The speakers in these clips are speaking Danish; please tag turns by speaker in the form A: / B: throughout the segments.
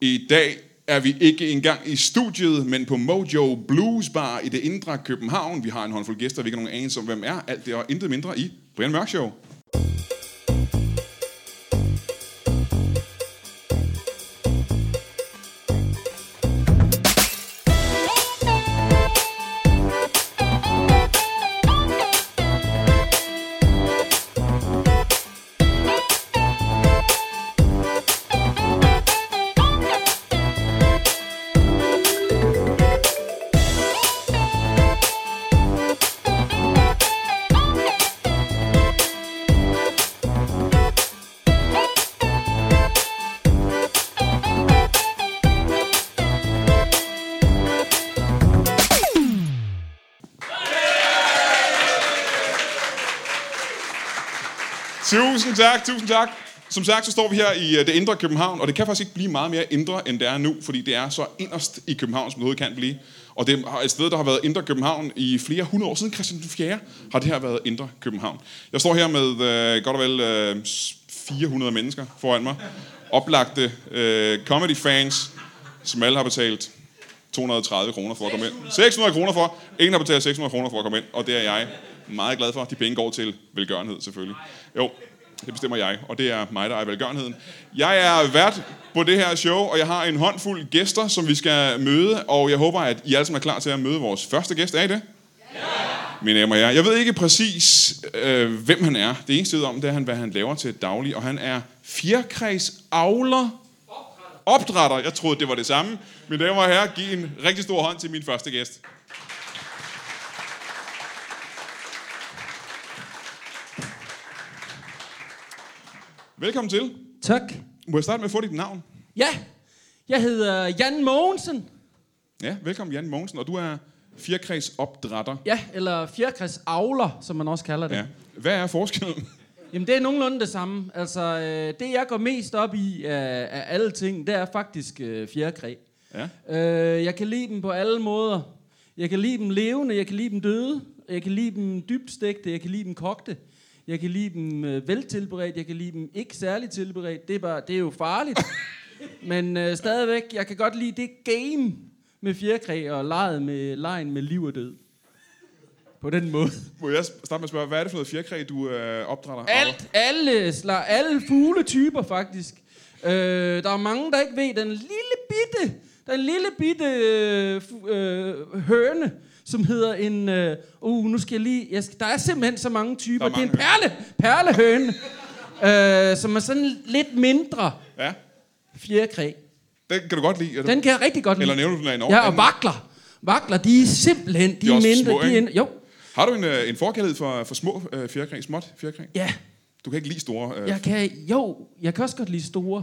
A: I dag er vi ikke engang i studiet, men på Mojo Blues Bar i det indre København. Vi har en håndfuld gæster, vi ikke har nogen anelse om, hvem er. Alt det og intet mindre i Brian Mørk Show. Tusind tak, tusind tak. Som sagt, så står vi her i øh, det indre København, og det kan faktisk ikke blive meget mere indre, end det er nu, fordi det er så inderst i København, som det overhovedet kan blive. Og det er et sted, der har været indre København i flere hundrede år siden Christian den 4. har det her været indre København. Jeg står her med øh, godt og vel øh, 400 mennesker foran mig. Oplagte øh, comedy-fans, som alle har betalt 230 kroner for at komme ind. 600 kroner for. Ingen har betalt 600 kroner for at komme ind, og det er jeg meget glad for. De penge går til velgørenhed, selvfølgelig. Jo, det bestemmer jeg, og det er mig, der er velgørenheden. Jeg er vært på det her show, og jeg har en håndfuld gæster, som vi skal møde, og jeg håber, at I alle sammen er klar til at møde vores første gæst. Er I det? mine damer og herrer. Jeg ved ikke præcis, øh, hvem han er. Det eneste, jeg ved om, det er, han, hvad han laver til daglig. Og han er fjerkræs avler. Opdrætter. Jeg troede, det var det samme. Mine damer og herrer, giv en rigtig stor hånd til min første gæst. Velkommen til.
B: Tak.
A: Må jeg starte med at få dit navn?
B: Ja, jeg hedder Jan Mogensen.
A: Ja, velkommen Jan Mogensen, og du er fjerkræs opdrætter.
B: Ja, eller fjerkræs avler, som man også kalder det.
A: Ja.
B: Ja.
A: Hvad er forskellen?
B: Jamen, det er nogenlunde det samme. Altså, øh, det jeg går mest op i øh, af alle ting, det er faktisk øh, fjerkræ.
A: Ja.
B: Øh, jeg kan lide dem på alle måder. Jeg kan lide dem levende, jeg kan lide dem døde, jeg kan lide dem dybstegte, jeg kan lide dem kogte. Jeg kan lide dem øh, veltilberedt, jeg kan lide dem ikke særligt tilberedt. Det er, bare, det er jo farligt. Men øh, stadigvæk, jeg kan godt lide det game med fjerkræ og lejen med, lejen med liv og død. På den måde.
A: Må jeg starte med at spørge, hvad er det for noget fjerkræ, du øh, opdrætter?
B: Alt, alle, sla- alle fugletyper faktisk. Øh, der er mange, der ikke ved den lille bitte, den lille bitte øh, fu- øh, høne, som hedder en... Øh, uh, nu skal jeg lige... Jeg skal, der er simpelthen så mange typer.
A: Der er
B: Det er en
A: mange
B: perle, perlehøne, øh, som er sådan lidt mindre
A: Ja.
B: fjerkræ.
A: Den kan du godt lide.
B: Den kan jeg rigtig godt lide.
A: Eller nævner du den af en
B: Ja, og
A: anden?
B: vakler. Vakler, de er simpelthen... De,
A: er
B: er
A: også
B: mindre.
A: små,
B: de er,
A: ikke?
B: ind- jo,
A: Har du en, øh, en forkærlighed for, for små øh, fjerkræ, småt fjerkræ?
B: ja.
A: Du kan ikke lide store... Øh,
B: Jeg kan, jo, jeg kan også godt lide store,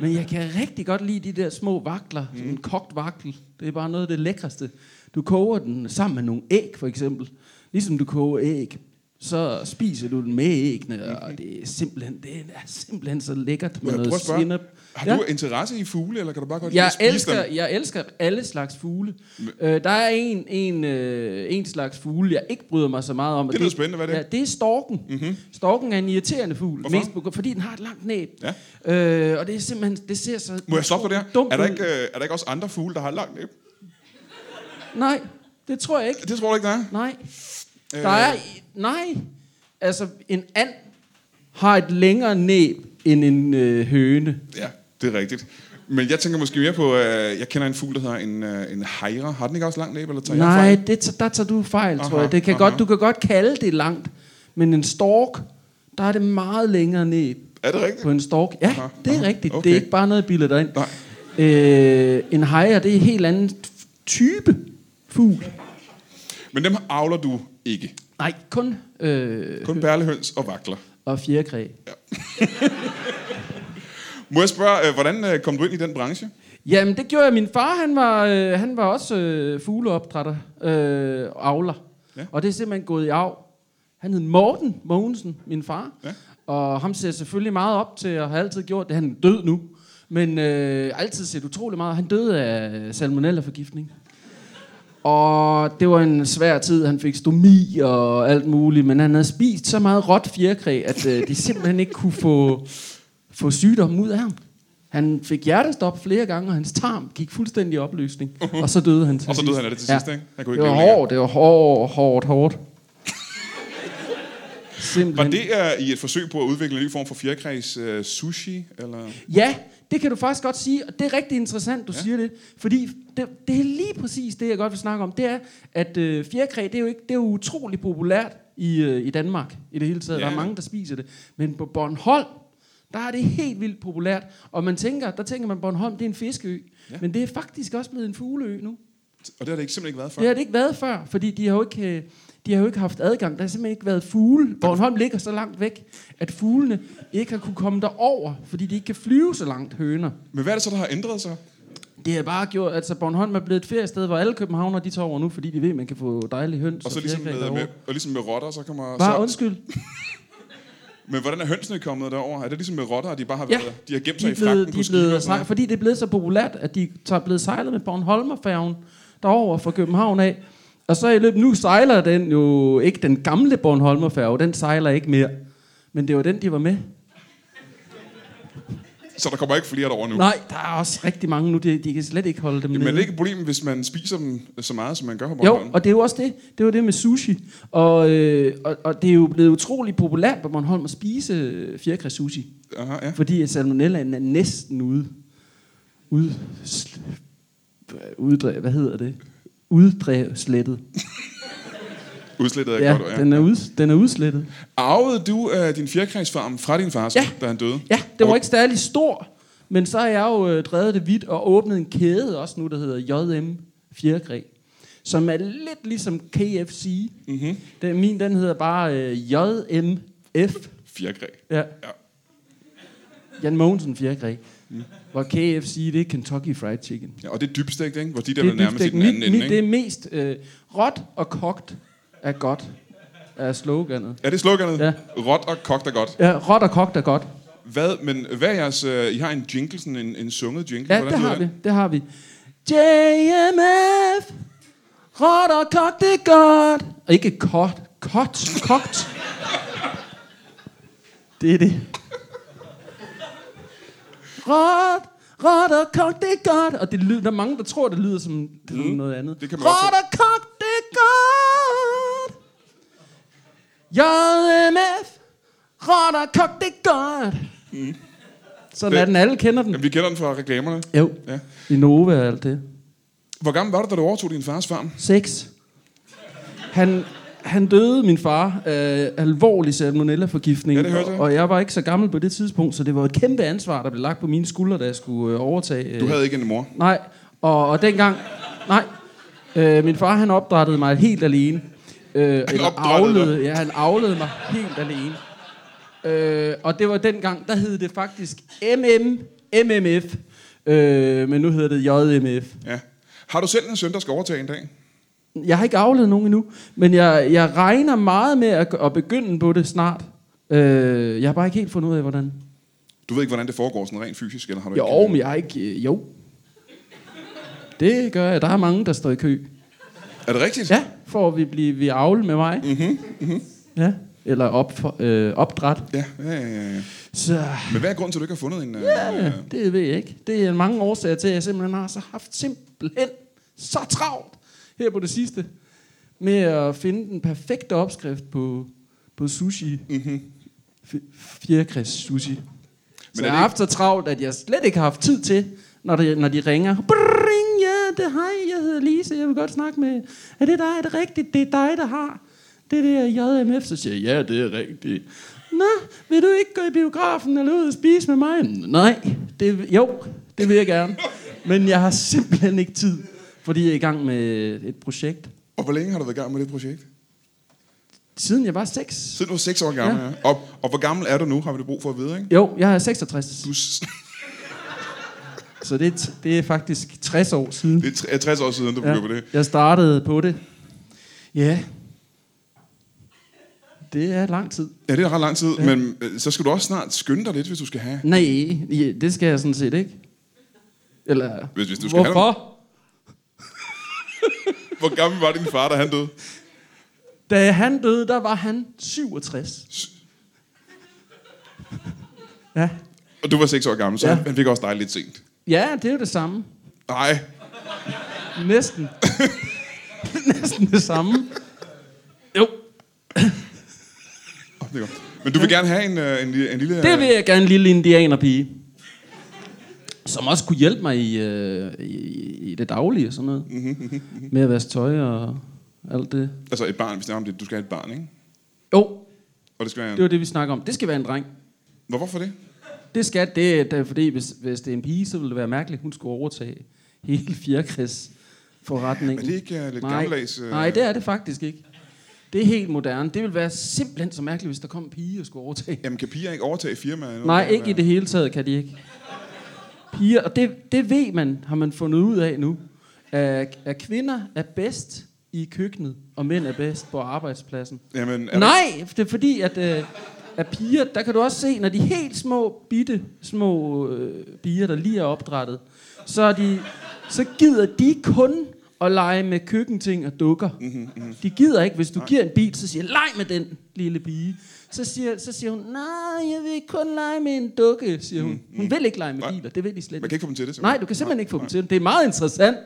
B: men jeg kan rigtig godt lide de der små vakler, mm. en kogt vakkel. Det er bare noget af det lækreste. Du koger den sammen med nogle æg, for eksempel. Ligesom du koger æg, så spiser du den med æggene, og det er simpelthen, det er simpelthen så lækkert med
A: Må jeg prøve
B: noget
A: at spørge?
B: sennep.
A: Har
B: Ja.
A: du interesse i fugle, eller kan du bare godt lide
B: Jeg
A: at spise
B: elsker,
A: dem?
B: jeg elsker alle slags fugle. Øh, der er en, en, øh, en slags fugle, jeg ikke bryder mig så meget om. og
A: Det lyder spændende. Hvad er det? Mhm.
B: Ja, det er storken. Mm-hmm. Storken er en irriterende fugl.
A: Hvorfor?
B: på, fordi den har et langt næb.
A: Ja.
B: Øh, og det er simpelthen, det ser så
A: Må jeg stoppe dig der?
B: dumt
A: Er der,
B: ud.
A: ikke, øh, er der ikke også andre fugle, der har langt næb? øh-
B: Nej, det tror jeg ikke.
A: Det tror du ikke, der er.
B: Nej. Der er,
A: Øh.
B: nej. Altså, en and har et længere næb end en øh, høne.
A: Ja, det er rigtigt. Men jeg tænker måske mere på... Øh, jeg kender en fugl, der hedder en, øh, en hejre. Har den ikke også langt næb, eller tager jeg
B: Nej,
A: fejl?
B: det, t- der tager du fejl, aha, tror
A: Aha,
B: jeg. Det kan
A: aha.
B: godt, du kan godt kalde det langt, men en stork, der er det meget længere ned
A: Er det rigtigt?
B: på en stork. Ja,
A: Aha,
B: det er
A: aha,
B: rigtigt.
A: okay.
B: Det er ikke bare noget, jeg bilder dig ind.
A: Nej.
B: Øh, en hejre, det er en helt anden f- type fugl.
A: Men dem avler du ikke.
B: Nej, kun, øh,
A: Kun perlehøns og vakler.
B: og fjerkræ.
A: Må jeg spørge, øh, hvordan øh, kom du ind i den branche?
B: Jamen, det gjorde jeg. Min far, han var, øh, han var også øh, fugleopdrætter øh, og avler.
A: Ja.
B: Ja. Og det er simpelthen gået i arv. Han hed Morten Mogensen, min far.
A: Ja.
B: Ja. Og ham ser jeg selvfølgelig meget op til, og har altid gjort det. Han er død nu, men øh, altid set utrolig meget. Han døde af salmonella-forgiftning. Og det var en svær tid. Han fik stomi og alt muligt, men han havde spist så meget råt fjerkræ, at øh, de simpelthen ikke kunne få, få sygdommen ud af ham. Han fik hjertestop flere gange, og hans tarm gik fuldstændig i opløsning. Og så døde han til
A: Og så døde
B: sidst.
A: han af det til sidst, ikke? Han kunne ikke
B: det var
A: leve længere.
B: hårdt, det var hårdt, hårdt, hårdt.
A: Var
B: Simpelthen.
A: det uh, i et forsøg på at udvikle en ny form for fjerkræs uh, sushi? Eller?
B: Ja, det kan du faktisk godt sige, og det er rigtig interessant, du ja. siger det. Fordi det, det er lige præcis det, jeg godt vil snakke om. Det er, at øh, fjerkræ, det er jo, ikke, det er jo utrolig populært i, øh, i Danmark i det hele taget. Ja. Der
A: Ja.
B: er mange, der spiser det. Men på Bornholm, der er det helt vildt populært. Og man tænker, der tænker man, Bornholm, det er en fiskeø.
A: Ja.
B: Ja. Men det er faktisk også blevet en fugleø nu.
A: Og det har det ikke, simpelthen ikke været før.
B: Det har det ikke været før, fordi de har jo ikke, øh, de har jo ikke haft adgang. Der har simpelthen ikke været fugle. Bornholm ligger så langt væk, at fuglene ikke har kunne komme derover, fordi de ikke kan flyve så langt høner.
A: Men hvad er det så, der har ændret sig?
B: Det har bare gjort, altså Bornholm er blevet et feriested, hvor alle københavnere de tager over nu, fordi de ved, at man kan få dejlige høns.
A: Og så ligesom
B: fjerkræ
A: med,
B: derovre.
A: med, og ligesom med rotter, så kommer...
B: Bare
A: så,
B: undskyld.
A: men hvordan er hønsene kommet derover? Er det ligesom med rotter, at de bare har,
B: Ja.
A: været, de har gemt sig
B: De er
A: i fragten
B: blevet, de
A: på
B: er
A: skibe? og
B: blevet,
A: sådan
B: sej-
A: noget?
B: fordi det er blevet så populært, at de tager blevet sejlet med Bornholmerfærgen derover fra København af. Og så i løbet, nu sejler den jo ikke den gamle Bornholmerfærge, den sejler ikke mere. Men det var den, de var med.
A: Så der kommer ikke flere derover nu.
B: Nej, der er også rigtig mange nu, de, de kan slet ikke holde dem
A: Men er
B: nede.
A: det ikke et problem, hvis man spiser dem så meget, som man gør på
B: Jo,
A: Bornholm?
B: og det er jo også det. Det var det med sushi. Og, øh, og, og det er jo blevet utrolig populært på Bornholm at spise øh, fjerkræ sushi.
A: Aha, ja.
B: Fordi at salmonellaen er næsten ude. Ude... Sl, uddre, hvad hedder det? Uddræslettet.
A: Udslettet er
B: Ja,
A: godt, ja.
B: den er, ud, den er udslettet.
A: Arvede du øh, din fjerkræsfarm fra din far, så,
B: Ja.
A: da han døde?
B: Ja, det var
A: Og-
B: ikke særlig stor, men så har jeg jo øh, drevet det vidt og åbnet en kæde også nu, der hedder JM Fjerkræ, som er lidt ligesom KFC.
A: Mhm.
B: Den, min, den hedder bare øh, JMF.
A: Fjerkræ.
B: Ja.
A: Ja.
B: Jan Mogensen Fjerkræ. Mm. Hvor KFC, det er Kentucky Fried Chicken.
A: Ja, og det er dybstegt, ikke? Hvor de der
B: det
A: det er
B: er
A: nærmest i
B: dybstegt.
A: den anden
B: mit,
A: ende,
B: mit,
A: ikke?
B: det er mest øh, råt og kogt er godt, er sloganet.
A: Er det sloganet?
B: Ja.
A: Råt og kogt er godt.
B: Ja, råt og kogt er godt.
A: Hvad, men hvad er jeres... Øh, I har en jingle, sådan en, en sunget jingle.
B: Ja,
A: Hvordan
B: det
A: lyder
B: har vi.
A: den?
B: Det har vi. JMF. Råt og kogt det godt. Og ikke kort. Kogt. Kogt. Det er det. Råt. Råt og kogt det godt. Og det lyder, der er mange, der tror, det lyder som, det mm. noget andet.
A: det kan man godt
B: Råt
A: tro.
B: og kogt det godt. JMF. Råt og kogt det godt. Mm. Sådan
A: Det-
B: er den. Alle kender den.
A: Jamen, vi kender den fra reklamerne.
B: Jo.
A: Ja.
B: Ja. I Nova og alt det.
A: Hvor gammel var du, da du overtog din fars farm?
B: Sex. Han, han døde, min far, af alvorlig salmonella-forgiftning.
A: Ja, det hørte jeg.
B: Og, og jeg var ikke så gammel på det tidspunkt, så det var et kæmpe ansvar, der blev lagt på mine skuldre, da jeg skulle øh, overtage. Øh,
A: Du havde ikke en mor.
B: Nej, og, og dengang... Nej, øh, min far han opdrættede mig helt alene. Øh, eller
A: opdrættede
B: avlede, ja, han avlede mig helt alene. Øh, og det var dengang, der hed det faktisk MM, MMF. Øh, men nu hedder det JMF.
A: Ja. Har du selv en søn, der skal overtage en dag?
B: Jeg har ikke afledt nogen endnu, men jeg, jeg regner meget med at, at begynde på det snart. Øh, jeg har bare ikke helt fundet ud af, hvordan.
A: Du ved ikke, hvordan det foregår sådan rent fysisk, eller har du
B: Jo,
A: ikke?
B: men jeg har ikke... øh, Jo. Det gør jeg. Der er mange, der står i kø.
A: Er det rigtigt?
B: Ja, for vi blive vi avle med mig. Mm-hmm. Mm-hmm. Ja, eller op, for, øh, opdræt.
A: Ja, ja, ja, ja, ja.
B: Så
A: Men hvad er grunden til, at du ikke har fundet en? øh,
B: ja,
A: øh,
B: det ved jeg ikke. Det er mange årsager til, at jeg simpelthen har så haft simpelthen så travlt her på det sidste med at finde den perfekte opskrift på, på sushi.
A: Mhm.
B: F- Fjerkræs sushi.
A: er
B: så
A: det
B: jeg har haft så travlt, at jeg slet ikke har haft tid til, når de, når de ringer. Bring, ja, det er hej, jeg hedder Lise, jeg vil godt snakke med. Er det dig? Er det rigtigt? Det er dig, der har det der JMF. Så siger jeg, ja, det er rigtigt. Nå, vil du ikke gå i biografen eller ud og spise med mig? Nej, det, jo, det vil jeg gerne. Men jeg har simpelthen ikke tid, fordi jeg er i gang med et projekt.
A: Og hvor længe har du været i gang med det projekt?
B: Siden jeg var 6.
A: Siden du var 6 år gammel, ja.
B: Ja.
A: ja. Og, og hvor gammel er du nu, har vi det brug for at vide, ikke?
B: Jo, jeg er 66.
A: Du, s-
B: Så det, er t- det er faktisk 60 år siden.
A: det er tre- er 60 år siden, du begyndte på det.
B: Jeg startede på det. Ja. Det er lang tid.
A: Ja, det er ret lang tid, ja. men øh, så skal du også snart skynde dig lidt, hvis du skal have...
B: Nej, ja, det skal jeg sådan set ikke. Eller,
A: Hvis- hvis du skal have
B: hvorfor?
A: Hvor gammel var din far, da han døde?
B: Da han døde, der var han 67.
A: S-
B: Ja,
A: Og du var seks år gammel, så
B: Ja.
A: ja. han fik også dig lidt sent.
B: Ja, det er jo det samme.
A: Nej,
B: Næsten. Næsten det samme. Jo,
A: Åh, det er godt. Men du vil gerne have en, øh, en, lille- en lille...
B: det vil jeg gerne en lille indianerpige. Som også kunne hjælpe mig i, øh, i, i det daglige og sådan noget. Med at vaske tøj og alt det.
A: Altså et barn, vi snakker om det. Du skal have et barn, ikke?
B: Jo,
A: Og det skal være en...
B: det var det, vi snakker om. Det skal være en dreng.
A: Nå, hvorfor det?
B: Det skal det, det er fordi hvis, hvis det er en pige, så ville det være mærkeligt, hun skulle overtage hele fjerkræs forretningen.
A: Er det ikke uh, lidt
B: Nej,
A: gammeldags... øh,
B: nej, det er det faktisk ikke. Det er helt moderne. Det ville være simpelthen så mærkeligt, hvis der kom en pige og skulle overtage.
A: Jamen, kan piger ikke overtage firmaer? eller
B: Nej,
A: noget?
B: ikke i det hele taget kan de ikke. Piger, og det, det ved man, har man fundet ud af nu, at, at kvinder er bedst i køkkenet, og mænd er bedst på arbejdspladsen.
A: Jamen, er det...
B: Nej, det er fordi, at, øh, at piger, der kan du også se, når de er helt små, bitte små øh, bier, der lige er opdrettet, så, er de, så gider de kun at lege med køkkenting og dukker. Mm-hmm,
A: Mhm,
B: mm-hmm. De gider ikke, hvis du Nej. giver en bil, så siger jeg, leg med den lille bie. Så siger, så siger hun, nej, jeg vil kun lege med en dukke, siger hun. Hun vil ikke lege med
A: Mhm, Nej.
B: biler, det vil de slet ikke.
A: Man kan ikke få dem til det,
B: Nej, du kan simpelthen ikke få dem til. Det er meget interessant.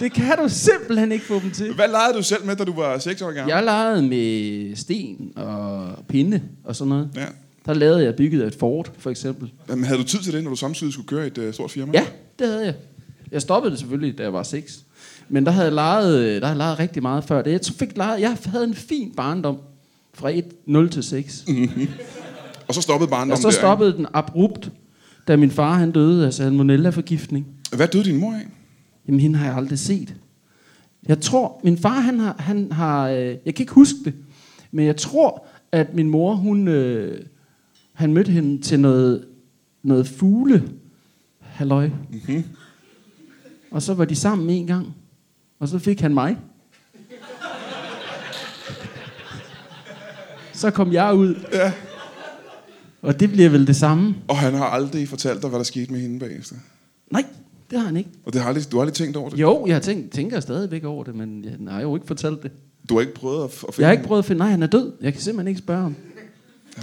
B: Det kan du simpelthen ikke få dem til.
A: Hvad legede du selv med, da du var 6 år gammel?
B: Jeg legede med sten og pinde og sådan noget.
A: Ja.
B: Der lavede jeg bygget et fort, for eksempel.
A: Jamen, havde du tid til det, når du samtidig skulle køre et uh, stort firma?
B: Ja, det havde jeg. Jeg stoppede det selvfølgelig, da jeg var seks. Men der havde jeg leget, øh, der havde jeg leget rigtig meget før det. Jeg, fik leget, jeg havde en fin barndom fra 1, 0 til 6. Mm,
A: Og så stoppede barndommen
B: og så
A: der, ikke?
B: stoppede den abrupt, da min far han døde af salmonella-forgiftning.
A: Hvad døde din mor af?
B: Jamen, hende har jeg aldrig set. Jeg tror, min far, han har, han har øh, jeg kan ikke huske det, men jeg tror, at min mor, hun, øh, han mødte hende til noget, noget fugle, halløj. Mm-hmm. Og så var de sammen en gang, og så fik han mig. Så kom jeg ud,
A: Ja.
B: og det bliver vel det samme.
A: Og han har aldrig fortalt dig, hvad der skete med hende bagefter.
B: Nej, det har han ikke.
A: Og det har aldrig, du har aldrig tænkt over det?
B: Jo, jeg tænker, tænker stadigvæk over det, men jeg, nej, jeg har jo ikke fortalt det.
A: Du har ikke prøvet at, f- at finde
B: Jeg har ikke prøvet at finde... Nej, han er død. Jeg kan simpelthen ikke spørge ham.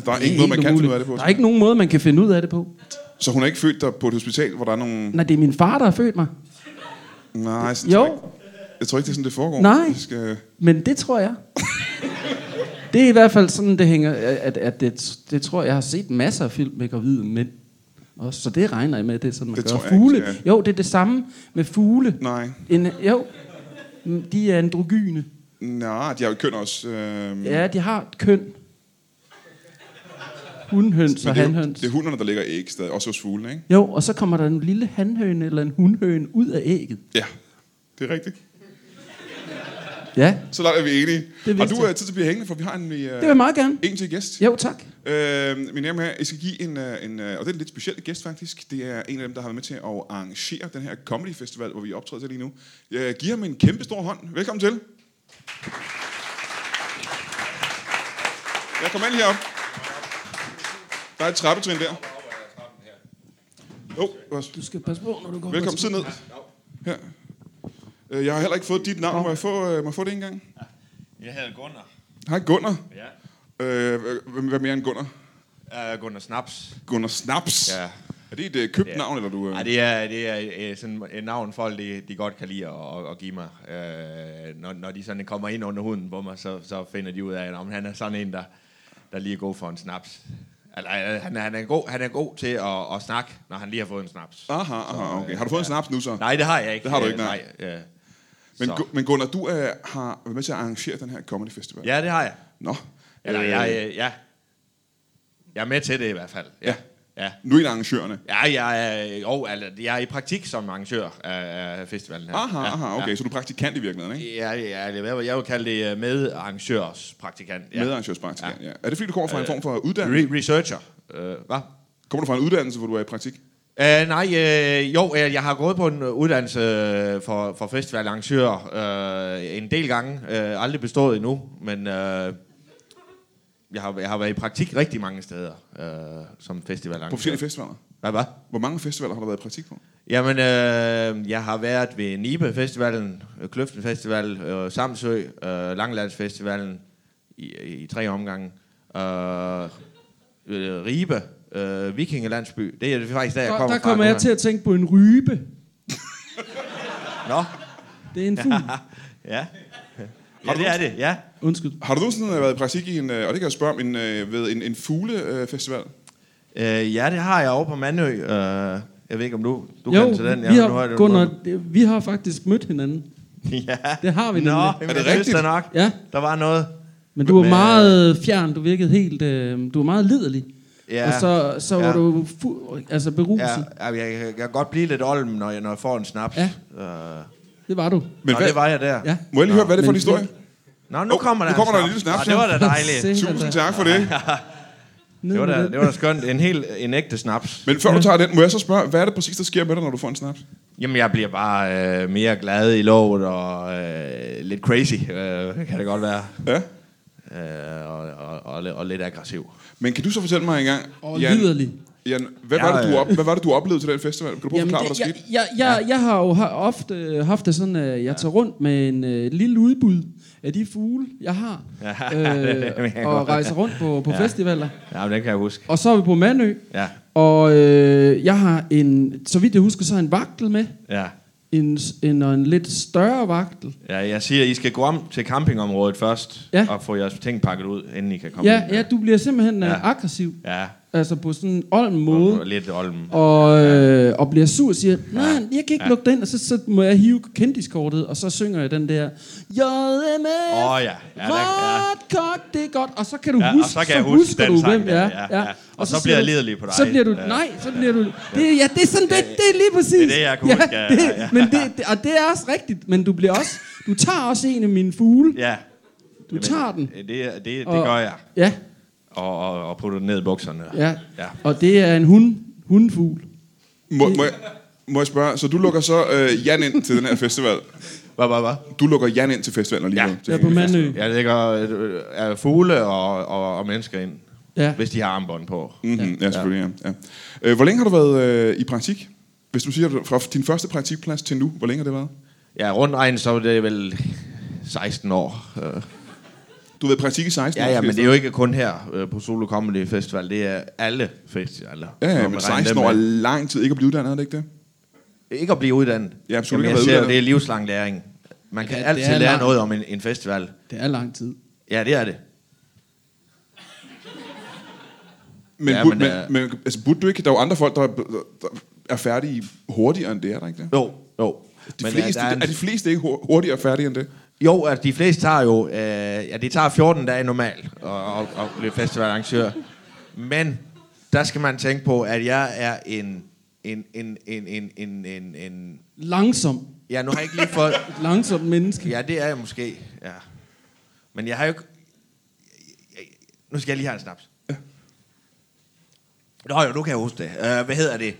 A: Der er ingen måde, man kan finde ud af det på.
B: Der er ikke nogen måde, man kan finde ud af det på.
A: Så hun er ikke født dig på et hospital, hvor der er nogle...
B: Nej, det er min far, der har født mig.
A: Nej, sådan
B: Jo.
A: tror jeg ikke. Jeg tror ikke, det er sådan, det foregår.
B: Nej.
A: Vi skal...
B: Men det tror jeg. Det er i hvert fald sådan, det hænger... At, at det, det tror jeg, jeg har set masser af film med gravide mænd. Også, så det regner jeg med, det er sådan, man
A: Det
B: gør.
A: tror jeg ikke,
B: fugle.
A: ja.
B: Jo, det er det samme med fugle.
A: Nej.
B: En, jo, Mm, de er androgyne.
A: Nej, de har jo køn også. Øh...
B: Ja, de har et køn. Hunhøns og
A: det, er, jo-
B: hanhøns.
A: det er hunderne, der ligger æg stadig, også hos fuglene, ikke?
B: Jo, og så kommer der en lille hanhøne eller en hunhøne ud af ægget.
A: Ja, det er rigtigt.
B: Ja,
A: Så langt er vi enige.
B: Det
A: har
B: vidste
A: du
B: jeg.
A: øh, tid til at blive hængende, for vi har en, øh,
B: det vil jeg meget gerne.
A: en til gæst.
B: Jo, tak.
A: Øh, min her, jeg skal give en, øh, en, øh, og det er en lidt speciel gæst faktisk, det er en af dem, der har været med til at arrangere den her Comedy Festival, hvor vi optræder til lige nu. Jeg giver ham en kæmpe stor hånd. Velkommen til. Jeg kommer ind herop. Der er et trappetrin der. Jo, oh,
B: Du skal passe på, når du går
A: velkommen. Sid ned. Her. Øh, Jeg har heller ikke fået dit navn. Må jeg få, øh, må jeg få det en gang?
C: Jeg hedder Gunnar.
A: Hej Gunnar.
C: Ja.
A: Øh, hvem- hvad mere end Gunnar?
C: Uh, Gunnar Snaps.
A: Gunnar Snaps.
C: Ja.
A: Er det et øh, købt navn, eller du... Øh...
C: Ej, det er, det er øh, sådan et navn, folk de, de godt kan lide at, at give mig. Øh, når, når de sådan kommer ind under huden på mig, så, så finder de ud af, at han er sådan en, der, der lige er god for en snaps. Eller, øh, han, er- han, er god, han er god til at, at snakke, når han lige har fået en snaps.
A: Aha, aha, okay. Har
C: øh,
A: du fået en snaps nu så?
C: Nej, det har jeg ikke.
A: Det har du ikke,
C: Øh,
A: nej.
C: nej øh,
A: men,
C: så.
A: Gu- men Gunnar, du øh, har været med til at arrangere den her Comedy Festival.
C: Ja, det har jeg.
A: Nå.
C: Eller,
A: Øh,
C: jeg, øh, ja. jeg er med til det i hvert fald.
A: Ja.
C: ja.
A: Nu er en af arrangørerne.
C: Ja, jeg er, jo, altså, jeg er i praktik som arrangør af, af festivalen her.
A: Aha,
C: ja,
A: aha, okay. Så du er praktikant i virkeligheden, ikke?
C: Ja, ja, ja, jeg, jeg vil kalde det øh, medarrangørspraktikant. Ja. Øh,
A: Medarrangørspraktikant, ja. Er det fordi, du kommer fra en form for uddannelse?
C: Re- researcher. Øh, hvad?
A: Kommer du fra en uddannelse, hvor du er i praktik?
C: Uh, nej, øh, jo, øh, jeg har gået på en uddannelse øh, for, for festivalarrangør øh, en del gange. Øh, aldrig bestået endnu, men øh, jeg, har, jeg har været i praktik rigtig mange steder øh, som
A: På forskellige
C: festivalarrangør.
A: festivaler?
C: Hvad, hvad?
A: Hvor mange festivaler har du været i praktik på?
C: Jamen, øh, jeg har været ved Nibe-festivalen, øh, Kløften Festival, øh, Samsø, øh, Langlandsfestivalen i, i tre omgange. Øh, øh, Ribe, Øh, vikingelandsby. Det er faktisk der, jeg
B: Der,
C: kommer
B: der
C: fra
B: kommer
C: nu
B: jeg
C: her.
B: til at tænke på en rype.
C: Nå,
B: Det er en fugl.
C: ja. Ja, det er det, ja.
B: Undskyld.
A: Har du nogensinde været i praktik i en, øh, og det kan jeg spørge om, en, øh, ved en, en fuglefestival?
C: Øh, ja, det har jeg over på Mandø. Øh, jeg ved ikke, om du, du
B: jo,
C: kan til den.
B: vi,
C: nu
B: har,
C: det-
B: Gunnar, det- vi har faktisk mødt hinanden.
C: Ja.
B: Det har vi
C: Nå,
B: nemlig.
C: er det
A: rigtigt?
C: rigtigt? Da nok.
B: Ja,
C: Der var noget.
B: men du var
C: Men- øh,
B: meget fjern. Du virkede helt... Øh, du var meget liderlig.
C: Ja.
B: Og så, så var
C: Ja.
B: du fu- altså beruset.
C: Ja, jeg, jeg, jeg kan godt blive lidt olm, når jeg, når jeg får en snaps.
B: Ja.
C: Øh,
B: Det var du.
A: Men
C: Nå,
A: hvad,
C: det var jeg der.
B: Ja.
A: må jeg lige høre, hvad er det for en
B: Men-
A: historie?
C: Nå, nu
A: Åh,
C: kommer der
A: nu kommer der en lille snaps,
C: Nå, det
A: ja.
C: var da dejligt.
B: Se,
A: Tusind
B: altså,
A: tak for det.
B: ned
C: Det var,
B: med
C: da,
B: den.
C: det var da skønt. En helt en ægte snaps.
A: Men før du tager den, må jeg så spørge, hvad er det præcis, der sker med dig, når du får en snaps?
C: Jamen, jeg bliver bare øh, mere glad i lovet og øh, lidt crazy, øh, kan det godt være.
A: Ja.
C: Øh, og, og, og, og lidt aggressiv.
A: Men kan du så fortælle mig engang,
B: Og liderlig.
A: Jan, hvad,
C: Ja,
A: var det, du
C: ja.
A: op, hvad var det, du oplevede til den festival? Kan du prøve at forklare, hvad der
B: jeg,
A: skete?
B: jeg, jeg, jeg har jo har ofte øh, haft det sådan, at jeg tager rundt med en øh, et lille udbud af de fugle, jeg har, øh,
C: det kan jeg
B: og
C: godt.
B: rejser rundt på, på ja. festivaler.
C: Ja, men den kan jeg huske.
B: Og så er vi på Manø,
C: Ja,
B: og øh, jeg har en, så vidt jeg husker, så har jeg en vagtel med,
C: ja.
B: en, s- en, og en lidt større vagtel.
C: ja jeg siger, I skal gå om til campingområdet først,
B: Ja.
C: og få jeres ting pakket ud, inden I kan komme
B: Ja,
C: ind.
B: ja, du bliver simpelthen ja.
C: Ja.
B: aggressiv,
C: Ja,
B: altså på sådan en olm måde.
C: og lidt olm.
B: og, øh, og bliver sur og siger, nej, jeg kan ikke ja. lukke den, og så, så må jeg hive kendiskortet, og så synger jeg den der, JMF,
C: Åh, ja. Ja, der- ja.
B: Råt kok, det er godt, og så kan du
C: Ja, og
B: huske,
C: så kan jeg huske
B: husker
C: den
B: du,
C: sang
B: hvem
C: der,
B: ja,
C: ja, ja. Og så
B: siger
C: bliver jeg
B: du-
C: liderlig på dig.
B: Så bliver du,
C: Ja.
B: nej, så bliver du, det, er- ja, det er sådan, det, det er lige præcis.
C: det, jeg kan huske, ja, ja, ja.
B: Men det, det, og det er også rigtigt, men du bliver også, du tager også en af mine fugle,
C: Ja.
B: du tager den.
C: Det, det, det
B: og-
C: gør jeg.
B: Ja,
C: Og, og, og putter den ned i bukserne.
B: ja,
C: ja.
B: og det er en hund, hundfugl.
A: Må, må, jeg, må jeg spørge, så du lukker så øh, Jan ind til den her festival?
C: Hvad, hvad, hvad?
A: Du lukker Jan ind til festivalen lige
C: Ja.
A: nu. til
B: Ja, på Mandø.
C: Jeg lægger øh, øh, fugle og, og, og mennesker ind,
B: Ja.
C: hvis de har armbånd på.
A: Mm-hmm, ja. ja, selvfølgelig. Ja. Ja. Øh, hvor længe har du været øh, i praktik? Hvis du siger, fra din første praktikplads til nu, hvor længe har det været?
C: Ja, rundt regnet, så er det vel 16 år. Øh,
A: Du har været i praktik i 16
C: Ja,
A: år.
C: ja,
A: skal
C: men
A: jeg
C: det er jo ikke kun her øh, på Solo Comedy Festival. Det er alle festivaler.
A: Ja,
C: Når
A: ja,
C: man
A: men
C: regner
A: 16
C: dem
A: år er
C: med.
A: lang tid ikke at blive uddannet, er det ikke det?
C: Ikke at blive uddannet.
A: Ja, absolut
C: Jamen,
A: ikke at være
C: jeg ser jo,
A: uddannet.
C: det er livslang læring. Man kan
B: Ja,
C: ja,
B: det
C: altid
B: er
C: lære
B: langt.
C: noget om en, en festival.
B: Det er lang tid.
C: Ja, det er det.
A: Men, ja,
C: Ja,
A: burde, men,
C: men, øh,
A: men, men altså, burde du ikke? Der er jo andre folk, der, er- der er færdige hurtigere end det, er der ikke det?
C: Jo, jo.
A: De
C: Men,
A: men
C: øh,
A: fleste,
C: der
A: er,
C: en-
A: er de fleste ikke hu- hurtigere færdige end det?
C: Jo, altså de fleste tager jo, øh, ja, de tager 14 dage normalt og, og, og blive festivalarrangør. Men der skal man tænke på, at jeg er en, en, en, en, en, en, en, en
B: Langsom.
C: ja, nu har jeg ikke lige fået,
B: Et langsomt menneske.
C: ja, det er jeg måske, ja. Men jeg har jo ikke, nu skal jeg lige have en snaps. Nå jo, nu kan jeg huske det. Uh, hvad hedder det?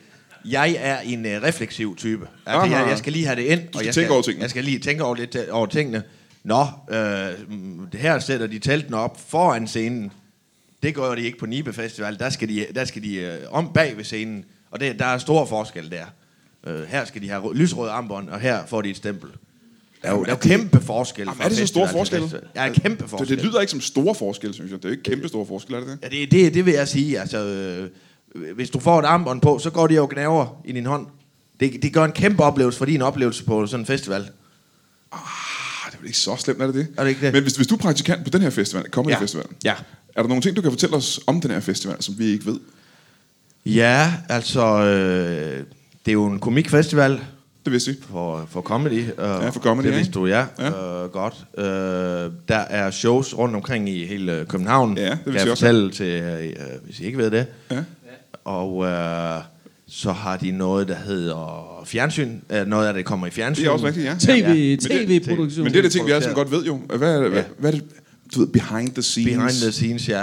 C: Jeg er en uh, refleksiv type. Altså,
A: Aha.
C: jeg, jeg skal lige have det ind.
A: skal
C: jeg
A: tænke over tingene.
C: Jeg skal lige tænke over lidt øh, over tingene. Nå, øh, mm, det her sætter de teltene op foran scenen. Det gør de ikke på Nibe Festival. Der skal de, der skal de øh, om bag ved scenen. Og det, der er stor forskel der. Øh, her skal de have rød, lysrød armbånd, og her får de et stempel. Der er jo,
A: Jamen,
C: der er
A: er
C: jo kæmpe forskel.
A: Jamen,
C: fra
A: er det så store
C: festival til
A: forskelle?
C: festival. Ja, kæmpe forskel.
A: Det, det lyder ikke som store forskelle, synes jeg. Det er jo ikke kæmpe store forskelle, er det det?
C: Ja, det, det, det vil jeg sige. Altså, øh, hvis du får et armbånd på, så går det jo og gnaver i din hånd. Det, det gør en kæmpe oplevelse for din oplevelse på sådan en festival.
A: Ah, det er vel ikke så slemt, er det det?
C: Er det ikke det?
A: Men hvis, hvis du er praktikant på den her festival, kommer ja.
C: Ja.
A: festival,
C: Ja.
A: er der nogle ting, du kan fortælle os om den her festival, som vi ikke ved?
C: Ja, altså, øh, det er jo en komikfestival
A: Det vidste vi.
C: for, for comedy. Øh, ja,
A: for comedy,
C: Det
A: ikke?
C: vidste du, ja.
A: Ja.
C: Øh, godt. Øh, der er shows rundt omkring i hele øh, København.
A: Ja, det vidste
C: kan jeg
A: jeg også.
C: fortælle til, øh, hvis I ikke ved det.
A: Ja.
C: Og øh, så har de noget, der hedder fjernsyn. Øh, noget af det kommer i fjernsyn.
A: Det er også rigtigt, ja.
B: TV,
A: Men det-
B: TV-produktion.
A: Men det er det ting, vi alle sammen godt ved jo. Hvad er, det, hvad,
C: Ja.
A: hvad er det, du ved, behind the scenes?
C: Behind the scenes, ja.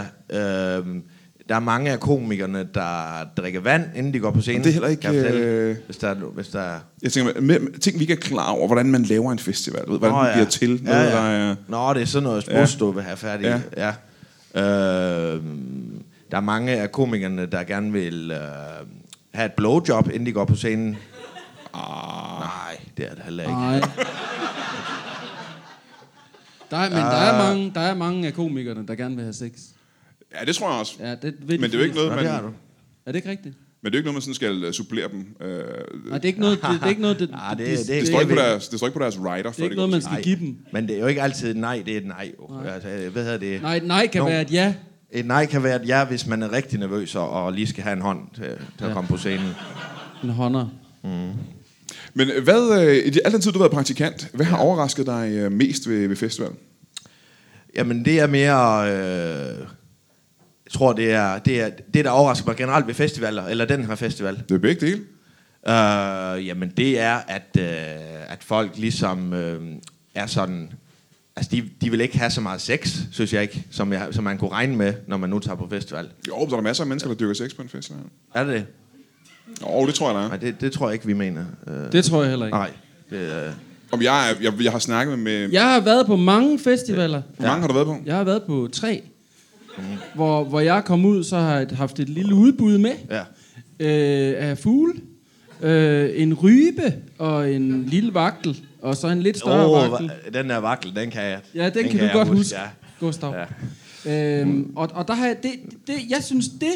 C: Øhm, der er mange af komikerne, der drikker vand, inden de går på scenen.
A: det er heller ikke,
C: Kan jeg fortælle,
A: øh,
C: Hvis der, er- hvis der er...
A: Jeg tænker, med, med, ting vi ikke er klar over, hvordan man laver en festival, du ved, hvordan den bliver til, noget, der er...
C: Nå, det er sådan noget smuds, du vil have færdigt.
A: Ja.
C: Ja. ja. Øhm, der er mange af komikerne, der gerne vil øh, have et blowjob, inden de går på scenen. Ah. Nej, det er det heller ikke.
B: Nej. Der er, men der
A: Ah.
B: er, mange, der er mange af komikerne, der gerne vil have sex.
A: Ja, det tror jeg også.
B: Ja, det vil de
A: Men det er jo ikke
B: fleste.
A: noget,
C: Nå, det har
A: man...
C: du.
B: Er det ikke rigtigt?
A: Men det er jo ikke noget, man sådan skal øh, supplere dem. Øh,
B: Nej, det er ikke noget, det, det er ikke noget, det,
C: Nej, det- det-
A: det,
B: det,
A: står ikke på
C: ved-
A: deres, det står ikke på deres rider.
B: det er ikke noget, man skal give dem.
C: Men det er jo ikke altid et nej, det er et nej. Jo. Altså, øh, hvad hedder det?
B: Nej, et nej kan
C: Nå.
B: være et ja.
C: Et nej kan være et ja, hvis man er rigtig nervøs og, og lige skal have en hånd til, til ja. at komme på scenen.
B: En hånder.
A: Men øh, hvad, øh, i de- al den tid, du har været praktikant, hvad har overrasket dig øh, mest ved, ved festivalen?
C: Jamen det er mere... Øh, jeg tror, det er, det er det, der overrasker mig generelt ved festivaler, eller den her festival.
A: Det er begge dele.
C: Øh, jamen det er, at, øh, at folk ligesom øh, er sådan... Altså de, de vil ikke have så meget sex, synes jeg ikke, som, jeg, som man kunne regne med, når man nu tager på festival.
A: Jo, der er der masser af mennesker, der dyrker sex på en festival.
C: Er det det?
A: Jo, det tror jeg, der er.
C: Nej, det, det tror jeg ikke, vi mener. Øh,
B: Det tror jeg heller
A: Ah.
B: ikke.
C: nej. Det, øh,
A: Om jeg, er- jeg, jeg har snakket med... med
B: Jeg har været på mange festivaler.
A: Hvor mange har du været på?
B: Jeg har været på tre. Hvor, hvor jeg kom ud, så har jeg haft et lille udbud med
C: ja.
B: øh, af fugle. Øh, en rybe og en lille vagtel. Og så en lidt større
C: Åh,
B: oh, vagtel.
C: hva- den der vakkel, den kan jeg.
B: Ja, den, den kan, kan du
C: jeg
B: godt huske,
C: Ja.
B: Gustav.
C: Ja.
B: Øhm, og, og der har jeg, det, det, jeg synes, det,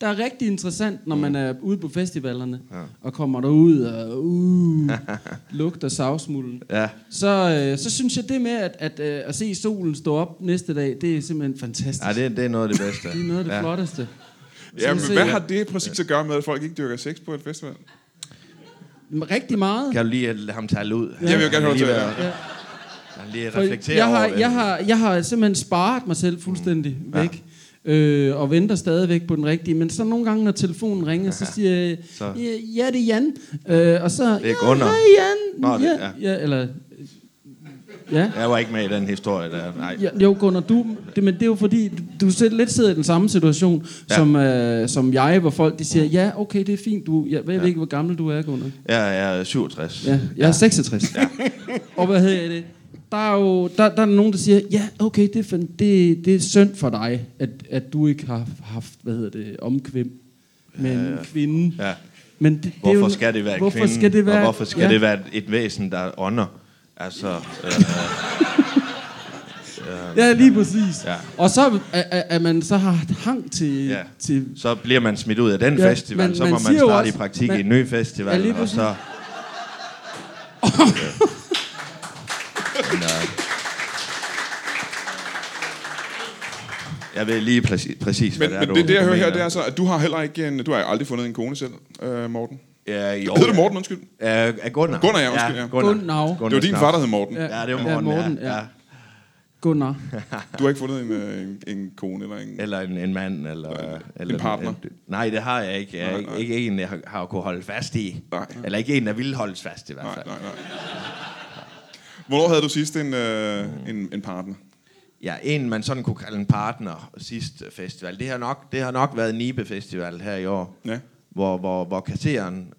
B: der er rigtig interessant, når man er ude på festivalerne, ja. og kommer derud og uh, lugter savsmulden,
C: Ja.
B: så, øh, så synes jeg det med at, at, øh, at se solen stå op næste dag, det er simpelthen fantastisk.
C: ja, det, det er noget af det bedste.
B: det er noget af det
C: ja.
B: ja. flotteste.
A: Ja,
B: Sådan
A: men
B: set,
A: hvad
B: ja.
A: har det præcis at gøre med, at folk ikke dyrker sex på en festival?
B: Rigtig meget.
C: Kan du lige øh, lade ham tale ud?
A: Ja. Jeg vil gerne holde til, ja.
B: Ja.
C: Han lige
B: For
C: reflektere
B: jeg har,
C: over det.
B: jeg, har, jeg har simpelthen sparet mig selv fuldstændig mm. væk. Øh, og venter stadigvæk på den rigtige. Men så nogle gange, når telefonen ringer, så siger jeg,
C: Så.
B: "Ja, ja, det er Jan. Øh, og så, det
C: er Gunnar."
B: Ja, hej Jan.
C: Nå, det-
B: ja, ja. ja, eller... Ja.
C: Jeg var ikke med i den historie der. Nej.
B: Ja, jo, Gunnar, du, det, men det er jo fordi, du selv lidt sidder i den samme situation,
C: Ja.
B: ja. som, øh, som jeg, hvor folk de siger, ja, okay, det er fint, du, jeg, jeg ved ikke, hvor gammel du er, Gunnar.
C: Jeg er 67.
B: Ja, jeg er 66. Ja. og hvad hedder det? Der er jo der, der er nogen, der siger, ja, okay, det er, fan- det, det er synd for dig, at, at du ikke har haft, hvad hedder det, omkvem med en kvinde.
C: Ja.
B: Men det, det er
C: Hvorfor
B: jo-
C: skal det være en
B: hvorfor
C: kvinde?
B: Skal det være,
C: Og hvorfor skal det være et væsen, der ånder? Altså, øh,
B: Ja, lige præcis.
C: Ja.
B: Ja. Og så er, er, er man så har hang til...
C: Ja.
B: Ja. til
C: så bliver man smidt ud af den
B: Ja,
C: festival.
B: men
C: så må
B: man
C: man
B: siger jo
C: starte
B: også-
C: i praktik
B: man-
C: i en ny
B: Ja,
C: festival.
B: lige
C: og
B: præcis.
C: så... Men, øh, Jeg ved lige præcis, præcis
A: Men,
C: hvad
A: men
C: du-
A: det, det, jeg
C: du
A: hører her,
C: mener.
A: det er så, at du har heller ikke en, du har aldrig fundet en kone selv, øh, Morten.
C: Ja, jo.
A: Hedder du Morten, undskyld?
C: Øh, af Gunnar.
A: Gunnar, ja, undskyld, ja.
B: Gunnar. Det var
A: Det var din
C: Snap.
A: far, der hed Morten.
B: Ja.
C: Ja, det var
B: Ja,
C: Morten,
B: Morten,
C: ja.
B: ja.
C: ja.
B: Gunnar.
A: Du har ikke fundet en, øh, en, en kone eller en...
C: Eller en, en mand, eller... eller
A: partner.
C: nej, det har jeg ikke. Jeg,
A: Nej,
C: nej, nej.
A: nej.
C: Ikke en, jeg har, har kunnet holde fast i.
A: Nej.
C: Eller ikke en, der ville holdes fast i hvert
A: Nej,
C: fald.
A: nej, nej. Hvornår havde du sidst en, øh, en, en partner?
C: Ja, en man sådan kunne kalde en partner sidste festival. Det har nok, det har nok været Nibe Festival her i år.
A: Ja.
C: Hvor, hvor, hvor kasseren,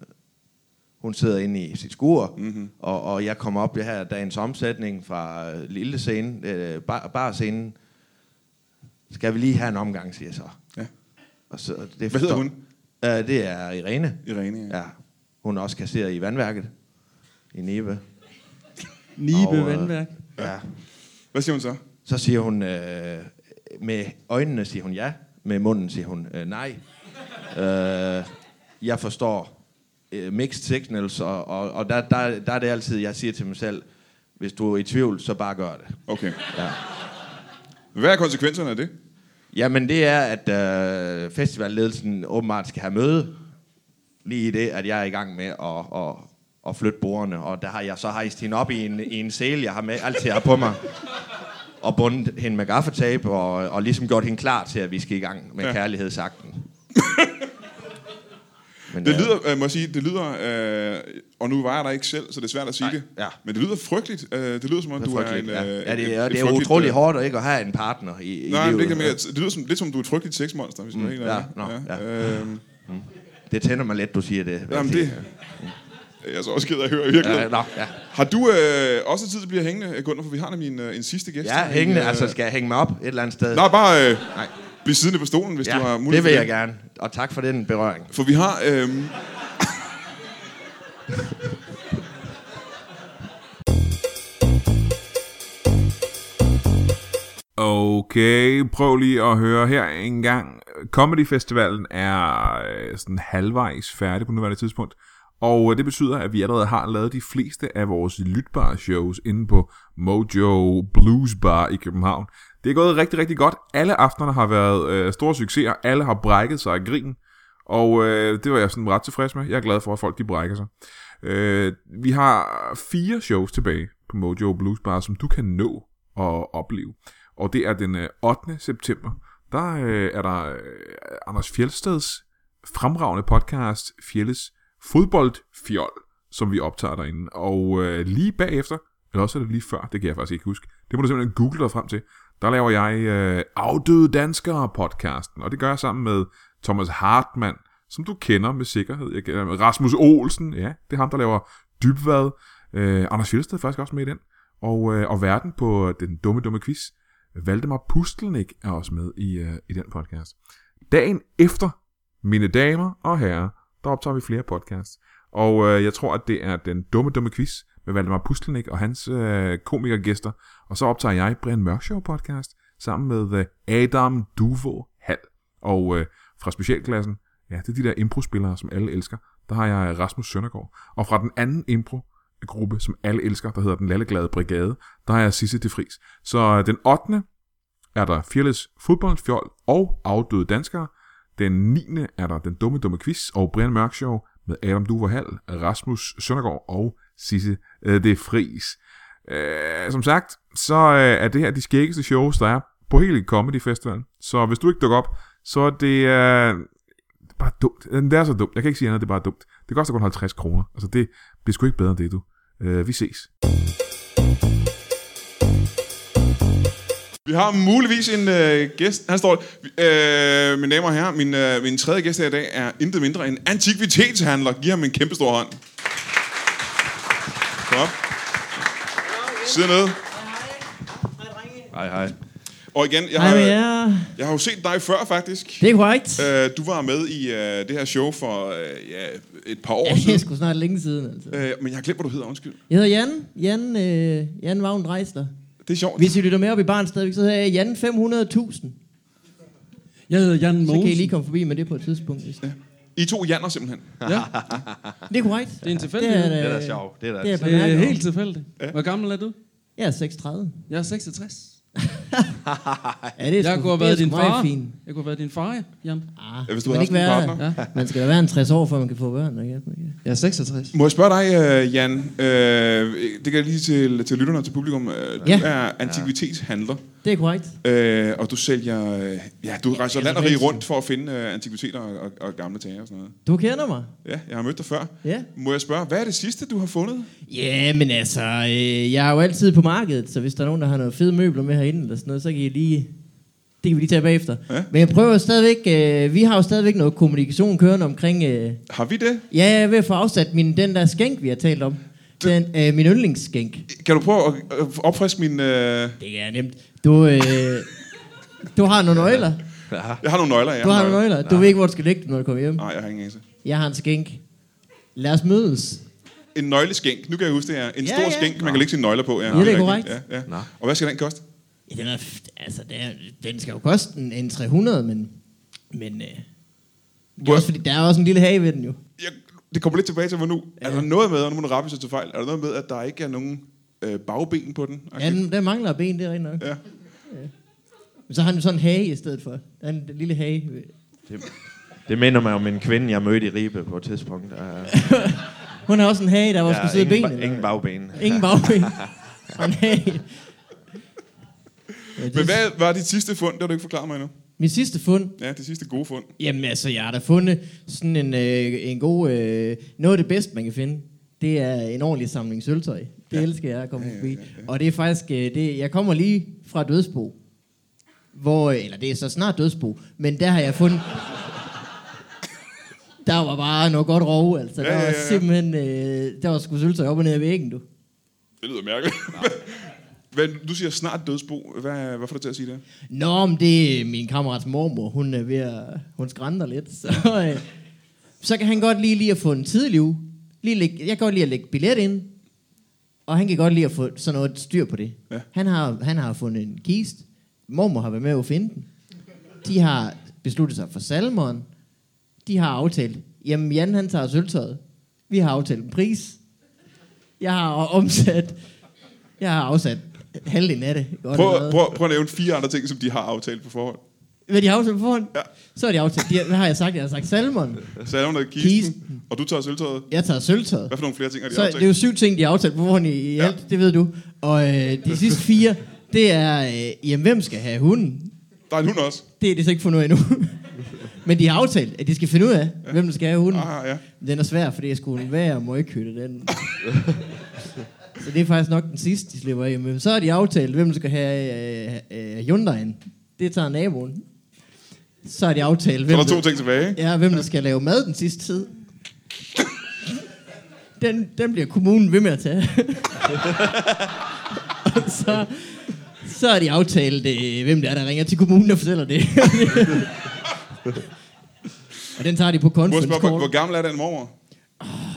C: hun sidder inde i sit skur,
A: Mhm.
C: mm-hmm. og, og jeg kommer op her dagens omsætning fra øh, lille scene, øh, bar, barscenen. Skal vi lige have en omgang, siger jeg så.
A: Ja.
C: Og så det
A: Hvad hedder hun?
C: Øh, det er Irene.
A: Irene, ja.
C: Ja. Hun er også kasserer i vandværket. I Nibe. Og,
B: Nibe
C: øh,
B: vandværk.
C: Ja.
A: Hvad siger hun så?
C: Så siger hun, øh, med øjnene siger hun ja, med munden siger hun øh, nej. Øh, jeg forstår øh, mixed signals, og, og, og der, der, der er det altid, jeg siger til mig selv, hvis du er i tvivl, så bare gør det.
A: Okay.
C: Ja.
A: Hvad er konsekvenserne af det?
C: Jamen det er, at øh, festivalledelsen åbenbart skal have møde lige i det, at jeg er i gang med at, at, at flytte bordene. Og der har jeg så hejst hende op i en, i en sæl, jeg har med, altid har på mig. Og bundet hende med gaffatape og, og ligesom gjort hende klar til, at vi skal i gang med
A: Ja.
C: ja. kærlighedsakten. Men,
A: Det
C: øh,
A: lyder, øh, må jeg sige, det lyder, øh, og nu var jeg der ikke selv, så det er svært at sige
C: Nej,
A: det,
C: ja.
A: men det lyder frygteligt. Øh, det lyder som om,
C: det er
A: du er en...
C: frygteligt. Ja,
A: øh,
C: ja,
A: et-
C: det
A: et
C: er, det er
A: frygteligt,
C: utrolig
A: øh,
C: hårdt at ikke at have en partner i, i
A: Nej, men
C: livet. Mm.
A: det, kan man, ikke- det lyder som, lidt som, du er et frygteligt sexmonster, hvis man er helt
C: ja,
A: ærlig.
C: nå,
A: ja. Øhm,
C: det tænder mig let, du siger det. vil jeg
A: jamen
C: sige.
A: det... Jeg er så også ked af at høre i virkeligheden.
C: Ja, nå, ja.
A: Har du øh, også tid til at blive hængende, Gunnar, for vi har nemlig en, øh, en sidste gæst.
C: Ja, hængende.
A: En,
C: Altså, skal jeg hænge mig op et eller andet sted?
A: Nej, bare øh,
C: Nej.
A: blive siddende på stolen, hvis du har
C: Ja,
A: mulighed
C: det vil
A: for
C: jeg gerne. Og tak for den berøring.
A: For vi har... Øh,
D: Okay, prøv lige at høre her en gang. Comedy Festivalen er øh, sådan halvvejs færdig på nuværende tidspunkt, og øh, det betyder, at vi allerede har lavet de fleste af vores lytbare shows inde på Mojo Blues Bar i København. Det er gået rigtig, rigtig godt. Alle aftenerne har været øh, store succeser. Alle har brækket sig af grin. Og øh, det var jeg sådan ret tilfreds med. Jeg er glad for, at folk de brækker sig. Øh, vi har fire shows tilbage på Mojo Blues Bar, som du kan nå at opleve. Og det er den øh, 8. september. Der øh, er der øh, Anders Fjeldsteds fremragende podcast, Fjelles fodboldfjol, som vi optager derinde. Og øh, lige bagefter, eller også er det lige før, det kan jeg faktisk ikke huske, det må du simpelthen google dig frem til, der laver jeg øh, Afdøde Danskere podcasten, og det gør jeg sammen med Thomas Hartmann, som du kender med sikkerhed. Jeg, kender- Rasmus Olsen, ja, det er ham, der laver Dybvad. Øh, Anders Fjeldsted er faktisk også med i den. Og, øh, og verden på den dumme, dumme quiz, Valdemar Pustelnik er også med i, øh, i den podcast. Dagen efter mine damer og herrer, der optager vi flere podcasts. Og øh, jeg tror, at det er den dumme, dumme quiz med Valdemar Pustelnik og hans øh, komikergæster. Og så optager jeg Brian Mørkshow podcast sammen med øh, Adam Duvo Hall. Og øh, fra specialklassen, ja, det er de der impro-spillere, som alle elsker. Der har jeg øh, Rasmus Søndergaard. Og fra den anden impro, gruppe, som alle elsker, der hedder Den Lalleglade Brigade, der har jeg Sisse de Fris. Så øh, den 8 er der Fearless Fodboldfjol og Afdøde Danskere. Den 9. er der Den Dumme Dumme Quiz og Brian Mørk Show med Adam Duverhal, Rasmus Søndergaard og Sisse øh, det Fris. Øh, som sagt, så øh, er det her de skæggeste shows, der er på hele Comedy Festivalen. Så hvis du ikke dukker op, så er det, øh, det er bare dumt. Øh, Det er så dumt. Jeg kan ikke sige andet, det er bare dumt. Det koster kun 50 kroner. Altså det bliver sgu ikke bedre end det, du. Øh, vi ses.
A: Vi har muligvis en øh, gæst. Han står... Øh, mine damer og herrer, min, øh, min tredje gæst her i dag er intet mindre end antikvitetshandler. Giv ham en kæmpe stor hånd. Kom op. Sid ned.
C: Hej, hej.
A: Og igen, jeg har,
E: Hej med jer.
A: jeg har jo set dig før, faktisk.
E: Det er korrekt.
A: Øh, du var med i øh, det her show for øh, ja, et par år
E: Ja, det er
A: siden.
E: sgu snart længe siden, altså.
A: Øh, men jeg har glemt, hvad du hedder, undskyld.
E: Jeg hedder Jan. Jan, øh, Jan Vagn Dreisler.
A: Det er sjovt.
E: Hvis I lytter med op i barn stadigvæk, så hedder jeg Jan 500.000.
B: Jeg hedder Jan Mogensen.
E: Så kan I lige komme forbi med det på et tidspunkt. Hvis det.
A: I to janner simpelthen.
B: Ja,
E: det er korrekt.
B: det er en
E: Det er, øh,
B: tilfældighed.
E: da-
C: Det er da sjovt. Det er da
E: Det er
B: Det er
E: bemærket.
B: helt tilfældigt. Hvor gammel er du?
E: Jeg er 36.
B: Jeg er 66.
E: Ja, det er
B: Jeg kunne have
E: sgu, det er
B: været
E: sgu
B: din
E: meget
B: far.
E: Fint.
B: Jeg kunne have været din far, ja, Jan.
E: Ah,
A: Hvis du
E: skal man
A: havde
E: ikke
A: haft en
E: være,
A: partner.
E: ja. Man skal da være en 60 år, før man kan få børn. Ikke?
B: Jeg er 66.
A: Må jeg spørge dig, øh, Jan? Øh, det kan jeg lige til, til lytterne og til publikum. Øh, Du
E: Ja.
A: er antikvitetshandler,
E: Det er korrekt.
A: øh, og du sælger... Øh, ja, du rejser land og rige
E: altså,
A: rundt for at finde øh, antikviteter og, og, og gamle tager og sådan noget.
E: Du kender mig.
A: Ja, jeg har mødt dig før.
E: Ja.
A: Må jeg spørge, hvad er det sidste, du har fundet?
E: Ja, men altså, øh, jeg er jo altid på markedet, så hvis der er nogen, der har noget fede møbler med herinde eller sådan noget, så kan I lige... Det kan vi lige tage bagefter.
A: Ja.
E: Ja. Men jeg prøver stadigvæk... Øh, vi har jo stadigvæk noget kommunikation kørende omkring... Øh,
A: Har vi det?
E: ja, jeg er ved at få afsat min, den der skænk, vi har talt om. Den, øh, min yndlingsskænk.
A: Kan du prøve at øh, opfriske min... Øh,
E: Det er nemt. Du, øh, du har nogle nøgler.
A: jeg har nogle nøgler, ja.
E: Du har nogle nøgler. Du ved ikke, hvor du skal lægge dem, når du kommer hjem.
A: Nej, jeg har ingen anelse.
E: Jeg har en skænk. Lad os mødes.
A: En nøgleskænk. Nu kan jeg huske det her. En
E: Ja,
A: stor
E: ja.
A: skænk, man kan lægge sine nøgler på. Ja,
E: det er
A: rigtigt.
E: korrekt.
A: Ja, ja. Og hvad skal den koste?
E: Ja, den, er, f- altså, den, er, den skal jo koste en, en 300, men, men øh, det er også, fordi der er også en lille have ved den jo.
A: jeg, det kommer lidt tilbage til mig nu. Ja. Er der noget med, og nu må du rette sig til fejl, er der noget med, at der ikke er nogen øh, bagben på den?
E: Ja, den, den mangler et ben, det er rigtigt nok. Øh,
A: Ja.
E: Men så har han jo sådan en hage i stedet for. Der er en lille hage. ved-
C: Det minder mig om en kvinde, jeg mødte i Ribe på et tidspunkt. Der, der
E: Hun har også en hage, der hvor skulle sidde
C: ingen, ba-
E: benene.
C: ingen bagbene.
E: ingen bagben. og en hage. Ja, det,
A: Men hvad var dit sidste fund? Det har du ikke forklaret mig endnu.
E: Mit sidste fund,
A: Ja, det sidste gode fund.
E: Jamen altså, jeg har da fundet sådan en, øh, en god... Øh, noget af det bedste, man kan finde, det er en ordentlig samling sølvtøj. Det ja. elsker jeg at komme forbi. Ja, ja, ja. Og det er faktisk... Øh, det, jeg kommer lige fra Dødsbo. Hvor, øh, eller det er så snart Dødsbo, men der har jeg fundet... Der var bare noget godt rov, altså.
A: Ja,
E: Der
A: ja, ja,
E: var
A: ja.
E: simpelthen... Øh, der var sgu sølvtøj op og ned ad væggen, du.
A: Det lyder mærkeligt. Men du siger snart dødsbo. Hvad, hvad får du til at sige det?
E: Nå, men det er min kammerats mormor. Hun er ved at... Hun skrænter lidt, så... Øh, så kan han godt lige lige at få en tidlig uge. Lige lægge, jeg kan godt lide at lægge billet ind. Og han kan godt lide at få sådan noget styr på det.
A: Ja.
E: Han, har, han har fundet en kist. Mormor har været med at finde den. De har besluttet sig for salmeren. De har aftalt, jamen Jan han tager sølvtøjet. Vi har aftalt en pris. Jeg har omsat, jeg har afsat halvdelen af det. Godt
A: Prøv,
E: allerede.
A: prøv, prøv at nævne fire andre ting, som de har aftalt på forhånd.
E: Hvad de har aftalt på forhånd?
A: Ja.
E: Ja. Så er de aftalt. De, har- hvad har jeg sagt? Jeg har sagt salmon.
A: Salmon og kisten, kisten, og du tager sølvtøjet.
E: Jeg tager sølvtøjet.
A: Hvad for nogle flere ting har de
E: Så
A: aftalt?
E: det er jo syv ting, de har aftalt på forhånd i, i
A: Ja.
E: ja. alt. Det ved du. Og øh, de sidste fire, det er, øh, jamen hvem skal have hunden?
A: Der er en hund også.
E: Det er de så ikke fundet ud af endnu. Men de har aftalt, at de skal finde ud af, ja. hvem der skal have hunden.
A: Ah, ja.
E: Den er svær, fordi jeg skulle være møgkøtte den. så det er faktisk nok den sidste, de slipper af. Men så har de aftalt, hvem der skal have øh, øh, Hyundai'en. Det tager naboen. Så har de aftalt,
A: Så
E: hvem
A: der er to ting tilbage. ikke?
E: Ja, hvem der skal lave mad den sidste tid. Den, den bliver kommunen ved med at tage. Og så, så har de aftalt, øh, hvem det er, der ringer til kommunen og fortæller det. og den tager de
A: Må
E: på
A: jeg
E: conference
A: spørge, hvor, hvor
E: call.
A: gammel er den mormor?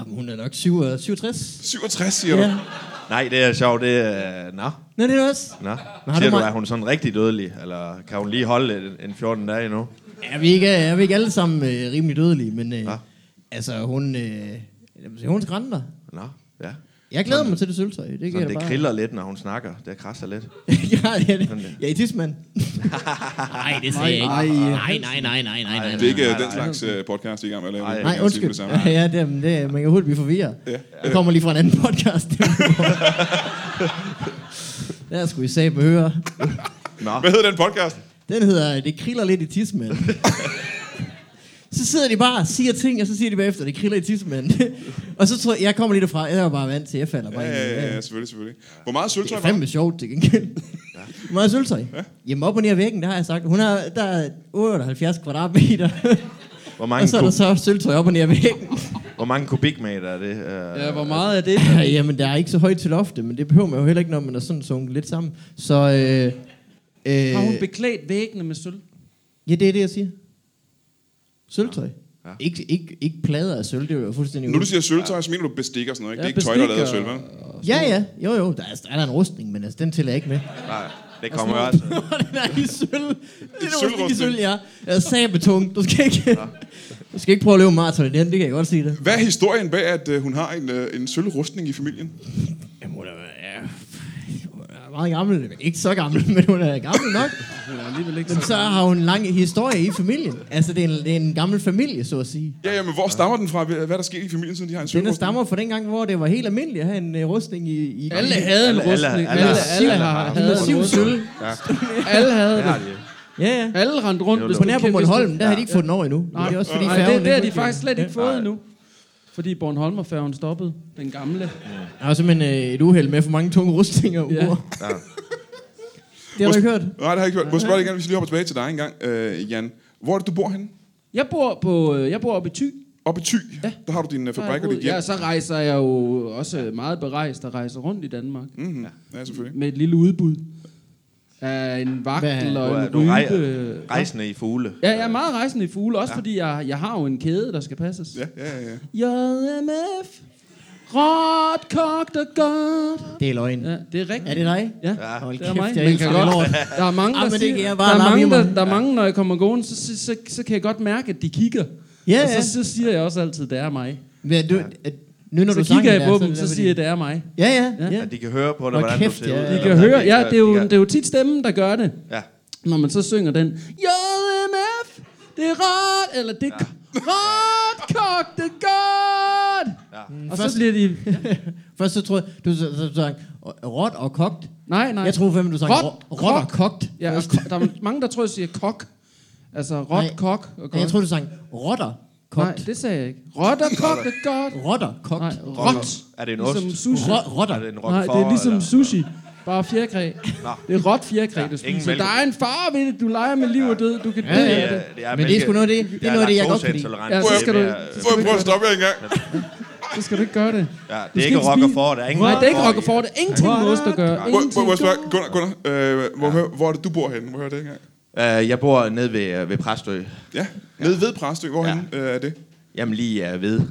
E: Hun er nok 67. 67.
A: 67, siger du.
E: Ja.
C: Nej, det er sjovt. Det er... Nå,
E: Nå, det er også.
C: nå.
E: har
C: Siger
E: du
C: du,
E: mig-
C: er hun sådan rigtig dødelig? Eller kan hun lige holde en, en 14 dage endnu?
E: Er vi ikke, er vi ikke alle sammen øh, rimelig dødelige, men øh,
C: Ja.
E: altså, hun, øh, hun skrænter.
C: Nå, ja.
E: Jeg glæder mig til det sølvtøj. Det, kan jeg
C: Sådan,
E: da
C: det
E: bare.
C: kriller lidt, når hun snakker. Det krasser lidt.
E: ja, ja,
C: Sådan der.
E: det. ja, i tidsmand. nej, det siger jeg ikke. Nej, nej, nej, nej, nej, nej.
A: Det er ikke øh,
C: Nej,
A: den
C: nej.
A: slags øh, podcast, I er i gang med at lave. Det
C: Nej,
A: kan jeg
E: Nej,
A: sige
E: undskyld.
A: med det samme.
E: Ja, det, er- det, er- man kan hurtigt blive forvirret.
A: Ja.
E: Jeg kommer lige fra en anden podcast. Der skulle I sige høre.
C: Nå,
A: Hvad hedder den podcast?
E: Den hedder, det kriller lidt i tidsmand. så sidder de bare og siger ting, og så siger de bagefter, det kriller i tidsmand. og så tror jeg, jeg kommer lige derfra, jeg er jo bare vant til, jeg falder bare
A: Ja,
E: ind i
A: ja,
E: det.
A: ja, ja, selvfølgelig, selvfølgelig. Hvor meget
E: Det
A: sølvtøj var
E: er
A: der?
E: fandme sjovt til gengæld. Hvor meget sølvtøj? Jamen op og ned ad væggen, der har jeg sagt. Hun har, der er 78 kvadratmeter.
C: hvor
E: og
C: mange,
E: så er der
C: kub,
E: så sølvtøj op og ned ad væggen.
C: hvor mange kubikmeter er det? Uh,
B: Ja, hvor meget er det?
E: Ja, Jamen, der er ikke så højt til loftet, men det behøver man jo heller ikke, når man er sådan sunket lidt sammen. Så, øh, øh,
B: Har hun beklædt væggene med sølv?
E: ja, det er det, jeg siger. Sølvtøj.
C: Ja.
E: Ja. Ikke, ikke, ikke plader af sølv, det er jo fuldstændig...
A: Nu du siger sølvtøj, så mener du bestik og sådan noget, ikke? Det er ikke tøj, der er lavet af sølv, vel?
E: Ja, ja. Jo, jo. Der er, der er da en rustning, men altså, den tæller jeg ikke med.
C: Nej, det kommer jo
E: altså.
C: altså.
E: den er i sølv. Den er rustning i
A: sølvrustning.
E: sølv, ja. Jeg er sabetung. Du skal ikke... du skal ikke prøve at leve maraton i den, det kan jeg godt sige det.
A: Hvad er historien bag, at øh, hun har en, øh, en sølvrustning i familien?
E: Jamen, hun er, ja, hun er meget gammel. Ikke så gammel, men hun er gammel nok.
B: Hun er alligevel ikke
E: Men så har hun en lang historie i familien. Altså, det er en, det er en gammel familie, så at sige.
A: Ja, ja, men hvor stammer den fra? Hvad hvad er der sket i familien, siden de har en
E: Den der
A: sølvrustning?
E: stammer fra den gang, hvor det var helt almindeligt at have en uh, rustning i... i
B: Alle havde en
C: Alle- alle-
B: rustning.
C: alle-
B: Alle, alle,
C: alle
B: har
C: har-
B: havde
E: havde
B: en
E: syv
B: rustning.
E: sølv.
B: Alle havde
C: Det har
B: det.
C: de.
E: Ja, ja.
B: Alle rendte rundt.
C: Jo,
B: hvis
C: jo.
E: På
B: du
E: nær på
B: kendte-
E: Bornholm, der havde de ikke fået den over endnu. Men
B: Nej,
E: Det er også fordi
B: Nej,
E: færgen...
B: det, det har de
E: ikke-
B: faktisk slet ikke fået
C: Nej.
B: endnu. Fordi Bornholmerfærgen stoppede. Den gamle.
E: Der var simpelthen øh, et uheld med for mange tunge rustninger og
B: Ja.
E: uger.
C: Ja.
E: Det har du ikke hørt.
A: Nej, det har jeg ikke hørt. Må jeg spørge dig igen, hvis vi lige hopper tilbage til dig engang, øh, Jan. Hvor er det, du bor henne?
B: Jeg bor, på, øh, jeg bor oppe i Thy.
A: Oppe i Thy. Ja. Der har du din øh,
B: Der har jeg
A: fabrik og dit
B: boet.
A: hjem.
B: Ja, så rejser jeg jo også meget berejst og rejser rundt i Danmark.
A: Mm-hmm. ja. ja, selvfølgelig.
B: Med et lille udbud. Af en vagtel
E: Hvad-
B: og
C: Du
B: en
C: er, du rej,
B: rype.
C: rejsende i fugle.
B: Ja, jeg er meget rejsende i fugle. Også fordi jeg, jeg har jo en kæde, der skal passes.
A: Ja, ja, ja.
B: JMF. Råt, kogt og godt.
E: Det er løgn.
B: Ja, det er rigtigt.
E: Er det dig?
B: Ja.
C: Ja.
E: Hold
B: Det er
E: kæft,
B: mig.
E: jeg
B: Man
E: elsker
B: kan
E: det
B: godt-
E: lort.
B: Der er mange,
E: Ah,
B: der
E: men det
B: siger,
E: kan
B: der
E: jeg bare
B: er
E: larme
B: mange,
E: i mig.
B: der, der er mange, når jeg kommer gående, så, så, så, så kan jeg godt mærke, at de kigger.
E: Ja,
B: og
E: ja.
B: så, så siger jeg også altid, det er mig.
E: Men du, at, nu når
B: Så
E: du
B: kigger
E: sang
B: jeg på
E: der,
B: dem,
E: er
B: så
E: det
B: siger jeg,
E: fordi-
B: det er mig.
E: Ja, ja,
B: Ja.
E: ja.
C: Ja, de kan høre på dig,
E: Hvor
C: hvordan
E: kæft,
C: du ser
E: ja.
C: ud.
B: De
E: De
C: eller
B: kan
C: hvordan
B: høre,
C: de-
B: ja, det er, jo,
C: de kan-
B: det er jo tit stemmen, der gør det.
C: Ja.
B: Når man så synger den, JMF, det er ret, eller det er ret, kok, det er godt.
C: Ja.
B: Og så
E: Mm, Først-
B: bliver de,
E: Først så troede jeg, du så- så- så sang råt og kogt.
B: nej, nej.
E: Jeg troede fandme, du sang
B: Råt,
E: rå- råt og
B: kogt.
E: kogt.
B: Ja, og
E: først.
B: ko- der er mange, der tror, jeg siger kok. Altså
E: Nej.
B: råt, kok og
E: Ja,
B: kogt.
E: jeg troede, du sang rotter
B: Nej,
E: kogt.
B: det sagde jeg ikke. Råt og kok, det er godt.
E: Rotter kogt.
B: Nej,
C: Rotter.
B: råt.
C: Er det en
B: Ligesom
C: ost?
B: sushi.
E: Rå- rotter.
C: Er det en rock
B: Nej, det er ligesom sushi. Bare fjerkræ.
C: Nå.
B: Det er råt fjerkræ,
C: Ja,
B: du
C: ingen
B: spiser.
C: mælk.
B: Der er en far ved det. Du leger med liv og død. Du kan dø
E: Ja,
B: af det.
C: Ja, det er
E: Men det er sgu noget af det- det er noget af det, jeg godt kan lide.
B: Ja,
C: Ja,
B: så
C: så
B: skal
C: skal
B: du-
A: Må jeg prøve at stoppe jer engang?
B: Så skal du ikke gøre det.
C: Ja,
B: Du
C: det er
B: skal
C: ikke rocker
B: spise-
C: for, der er ingen
B: Nej, det er ikke
C: rocker
B: rocker for. Det er ingenting med ost at gøre.
A: Må, må, må jeg
B: Ingenting.
A: spørge, Gunnar, Gunnar øh, hvor, hø- hvor er det, du bor henne? Hvor hører det engang?
C: Uh, jeg bor nede ved, uh, ved Præstø.
A: Ja, nede ved Præstø. Hvorhenne ja. øh, er det?
C: Jamen lige uh, ved.
B: I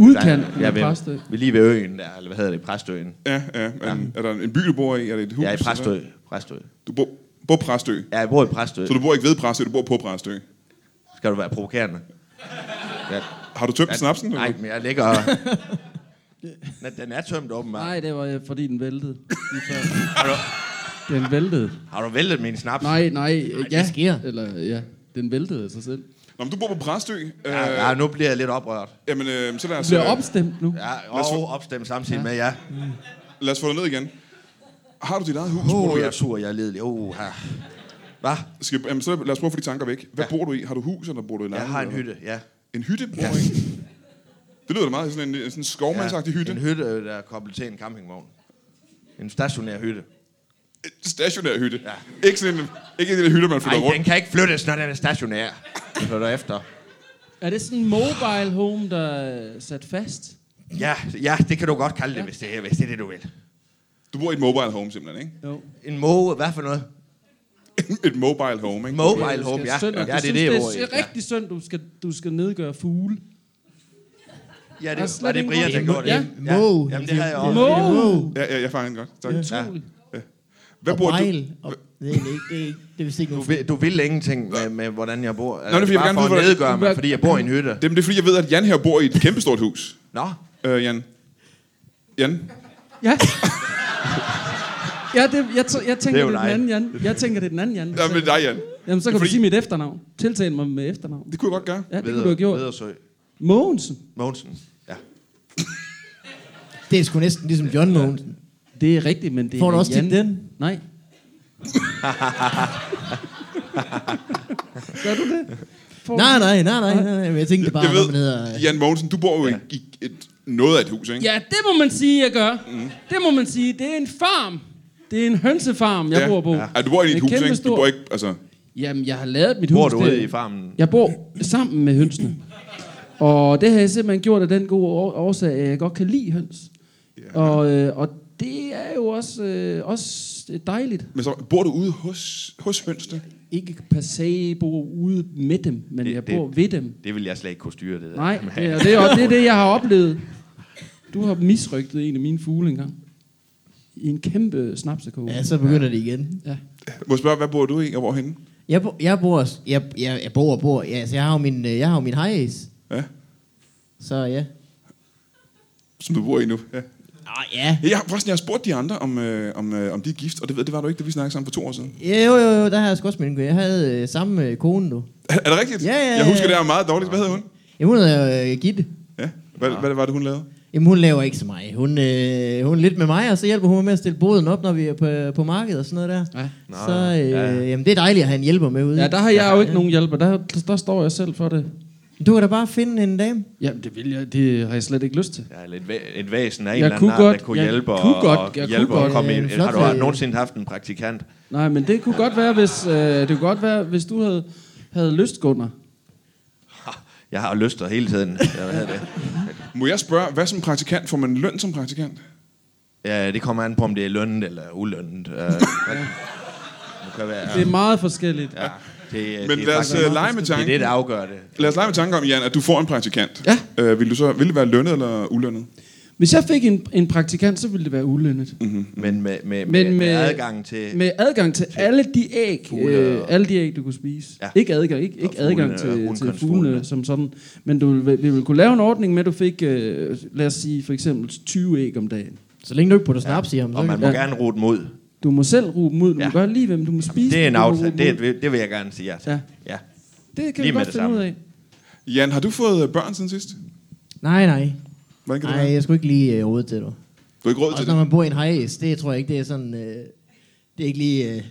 B: udkanten af
C: ved,
B: Præstø.
C: Ved lige ved øen der, eller hvad hedder det? Præstøen.
A: Ja, ja. Er, er der en by, du bor i? Er det et hus?
C: Jeg er i
A: eller
C: Præstø. Præstø.
A: hvad? Du bor på Præstø.
C: Ja, jeg bor i Præstø.
A: Så du bor ikke ved Præstø, du bor på Præstø.
C: Skal du være provokerende? Ja.
A: Har du tømt snapsen?
C: Nej,
A: eller?
C: men jeg ligger... Den- Den er tømt åbenbart.
B: Nej, det var øh, fordi den væltede. Lige før.
C: Har du,
B: Den væltede.
C: har du væltet min snaps?
B: Nej, nej, øh, ja.
E: det sker.
B: Eller, ja, den væltede af sig selv.
A: Nå, men du bor på Præstø. Øh,
C: Ja, ja, nu bliver jeg lidt oprørt.
A: Jamen, øh, så lad os,
B: Du bliver
A: øh,
B: opstemt nu.
C: Ja,
A: Lad os
C: og opstemt samtidig med, ja.
A: lad os få dig ned igen. Har du dit eget hus?
C: Åh,
A: bor
C: oh,
A: du i?
C: jeg er sur, jeg er ledelig. Åh, her. Hvad?
A: Skal, jamen, så lad os prøve at få de tanker væk. Hvad ja. bor du i? Har du hus, eller bor du i
C: Jeg
A: lejlighed?
C: har en
A: eller?
C: hytte, ja.
A: En hytte bor du i? Det lyder da meget sådan en, sådan en skovmandsagtig hytte.
C: En hytte, øh, der er koblet til en campingvogn. En stationær hytte.
A: En stationær hytte.
C: Ja.
A: Ikke sådan en, ikke en lille hytte, man flytter
C: Nej, den
A: rundt.
C: kan ikke flyttes, når den er stationær. Den flytter efter.
B: Er det sådan en mobile home, der er sat fast?
C: Ja, ja, det kan du godt kalde det, hvis det, er, hvis det er det, du vil.
A: Du bor i et mobile home simpelthen, ikke?
B: Jo.
C: En moge, hvad for noget?
A: et mobile home, ikke?
C: Mobile home, ja.
B: Synd, at
C: Ja,
B: du
C: det
B: synes,
C: er det,
B: det er
C: ordet.
B: rigtig synd, du skal, du skal nedgøre fugle.
C: Ja,
B: Der er
C: det
B: slet
C: var det
B: ingen
C: Brian, der
B: grund-
C: gjorde det.
B: Ja.
E: Moe.
C: Jamen, det havde jeg også.
B: Moe.
E: Wow.
A: Ja, ja, jeg fanger den godt. Tak.
B: Utroligt.
A: Hvad
E: Og
A: bor du?
E: Bejl. Og, det er egentlig ikke, det er ikke, det er vist ikke
C: Du
E: nogen
C: vil, du vil ingenting med, med, hvordan jeg bor. øh,
A: Nå, det vil jeg
C: bare
A: gerne
C: for
A: vide,
C: at
A: hvordan-
C: nedgøre mig, fordi jeg bor i en hytte.
A: Dem, det er fordi, jeg ved, at Jan her bor i et kæmpestort hus.
C: Nå,
A: Øh, Jan. Jan?
B: Ja. Ja, det, jeg, t- jeg tænker,
C: jo
B: det er,
C: dig.
B: den anden Jan. Jeg tænker, det er den anden Jan.
A: Ja, men dig, Jan.
B: Jamen, så kan
A: Fordi-
B: du sige mit efternavn. Tiltale mig med efternavn.
A: Det kunne jeg godt gøre.
B: Ja, det kunne du have gjort.
C: Vedersø.
B: Mogensen.
C: Mogensen. Ja.
E: Det er sgu næsten ligesom John Mogensen.
B: Det er rigtigt, men det
E: Får
B: er
E: du også
B: Jan.
E: tit den?
B: Nej. Gør du det? Får
E: Nej, nej, nej, nej, nej, nej. men Jeg tænkte bare,
A: Jeg
E: når man hedder...
A: ved, Jan Mogensen, du bor jo i, i et, noget af et hus, ikke?
B: Ja, det må man sige, jeg gør. Mm. Det må man sige. Det er en farm. Det er en hønsefarm, jeg ja. bor på. Ja.
A: Ja, du bor i et hus, ikke? Du
B: kæmpestor.
A: bor ikke, altså...
B: Jamen, jeg har lavet mit
C: Bor
B: hus.
C: du
B: der.
C: ude i farmen?
B: Jeg bor sammen med hønsene. Og det har jeg simpelthen gjort af den gode års- årsag, at jeg godt kan lide høns. Ja. Og, øh, og det er jo også, øh, også dejligt.
A: Men så bor du ude hos, hos hønsene?
B: Ikke per se bo ude med dem, men
C: Det-
B: det, jeg
C: det-
B: bor ved dem.
C: Det vil jeg slet ikke kunne styre, det der.
B: Nej, det er, det, er, det er det, jeg har oplevet. Du har misrygtet en af mine fugle engang. I en kæmpe snapsekål.
E: Ja, så begynder det igen.
B: ja.
A: Må jeg spørge, hvad bor du i, og hvorhenne?
E: Jeg, bo, jeg bor... Jeg, jeg, jeg bor og bor. Ja, altså, jeg har jo min, øh, jeg har jo min high ace.
A: Ja,
E: Så ja.
A: som du bor i nu. Ja.
E: Ah, ja.
A: Jeg, har- forresten, jeg har spurgt de andre, om, øh, om, øh, om de er gift, og det, ved- det var du ikke, da vi snakkede sammen for to år siden.
E: Ja, Jo, jo, jo, der har jeg sgu også min Jeg havde øh, samme øh, kone nu.
A: Er det rigtigt?
E: Ja, ja, ja,
A: Jeg husker,
E: ja.
A: det er meget dårligt. Hvad hed hun?
E: Jamen, hun hedder øh, Gitte.
A: Ja. Hvad, hvad var det, hun lavede?
E: Jamen, hun laver ikke så meget. Hun, øh, hun er lidt med mig, og så hjælper hun mig med at stille boden op, når vi er på, på markedet og sådan noget der.
B: Ja.
E: Så øh, ja. jamen, det er dejligt at have en hjælper med ude.
B: ja, der har jeg jo ikke nogen hjælper. Der, der står jeg selv for det.
E: Du kan da bare finde en dame.
B: Jamen, det, vil jeg, det har jeg slet ikke lyst til.
C: Ja, eller et, væ- et væsen af en
B: Jeg
C: eller anden
B: kunne
C: art, der
B: godt-
C: kunne
B: jeg
C: hjælpe
B: kunne
C: og,
B: godt-
C: og
B: jeg
C: hjælpe
B: kunne
C: og
B: godt,
C: komme
E: øh,
C: ind.
E: en
C: Har du
E: flot, øh,
C: nogensinde haft en praktikant?
B: Nej, men det kunne godt være, hvis, øh, det kunne godt være, hvis du havde, havde lyst, Gunnar.
C: Ha, Jeg har lyster hele tiden. Jeg ved det.
A: Må jeg spørge, hvad som praktikant? Får man løn som praktikant?
C: Ja, det kommer an på, om det er lønnet eller ulønnet. Øh, det kan være...
B: Det er meget forskelligt.
C: Ja, det, er-
A: Men
C: det er
A: lad os
C: faktisk-
A: øh, lege med
C: Det er det,
A: tanken.
C: der afgør det.
A: Lad os lege med tanken om, Jan, at du får en praktikant.
B: Ja.
A: Øh, vil, du så, vil det være lønnet eller ulønnet?
B: Hvis jeg fik en, en praktikant, så ville det være ulønnet. Mm.
C: Men med, med, med,
B: Men
C: med, med
B: med-
C: adgang til...
B: Med adgang til alle de æg,
C: Fugle
B: øh,
C: og-
B: alle de æg, du kunne spise.
C: Ja.
B: Ja. Ikke adgang, ikke,
C: Og
B: ikke adgang
C: fuglene,
B: til,
C: og
B: til
C: rundkønsfuglene.
B: fuglene som sådan. Men du ville, vi ville kunne lave en ordning med, at du fik, øh, lad os sige, for eksempel 20 æg om dagen.
E: Så længe du ikke putter snaps i ham. så
C: Og man
E: kan-
C: må
B: Ja.
C: gerne rute mod.
B: Du må selv ruge dem ud, du
C: Ja.
B: ja. må gøre lige, hvem du må spise.
C: Det er en
B: du må ruge
C: aftale.
B: dem
C: Det,
B: ud.
C: det, det vil jeg gerne sige ja til.
B: Ja.
C: ja.
B: det kan
C: lige
B: vi
C: med
B: godt
C: det
B: finde ud
C: samme.
B: af.
A: Jan, har du fået øh, børn siden sidst?
E: Nej, nej.
A: Hvordan kan det
E: Nej,
A: være?
E: jeg skulle ikke lige øh, råde til dig.
A: Du har ikke råd til
E: Også
A: det.
E: når man bor i en high ace, det tror jeg ikke, det er sådan... Øh, det er ikke lige øh,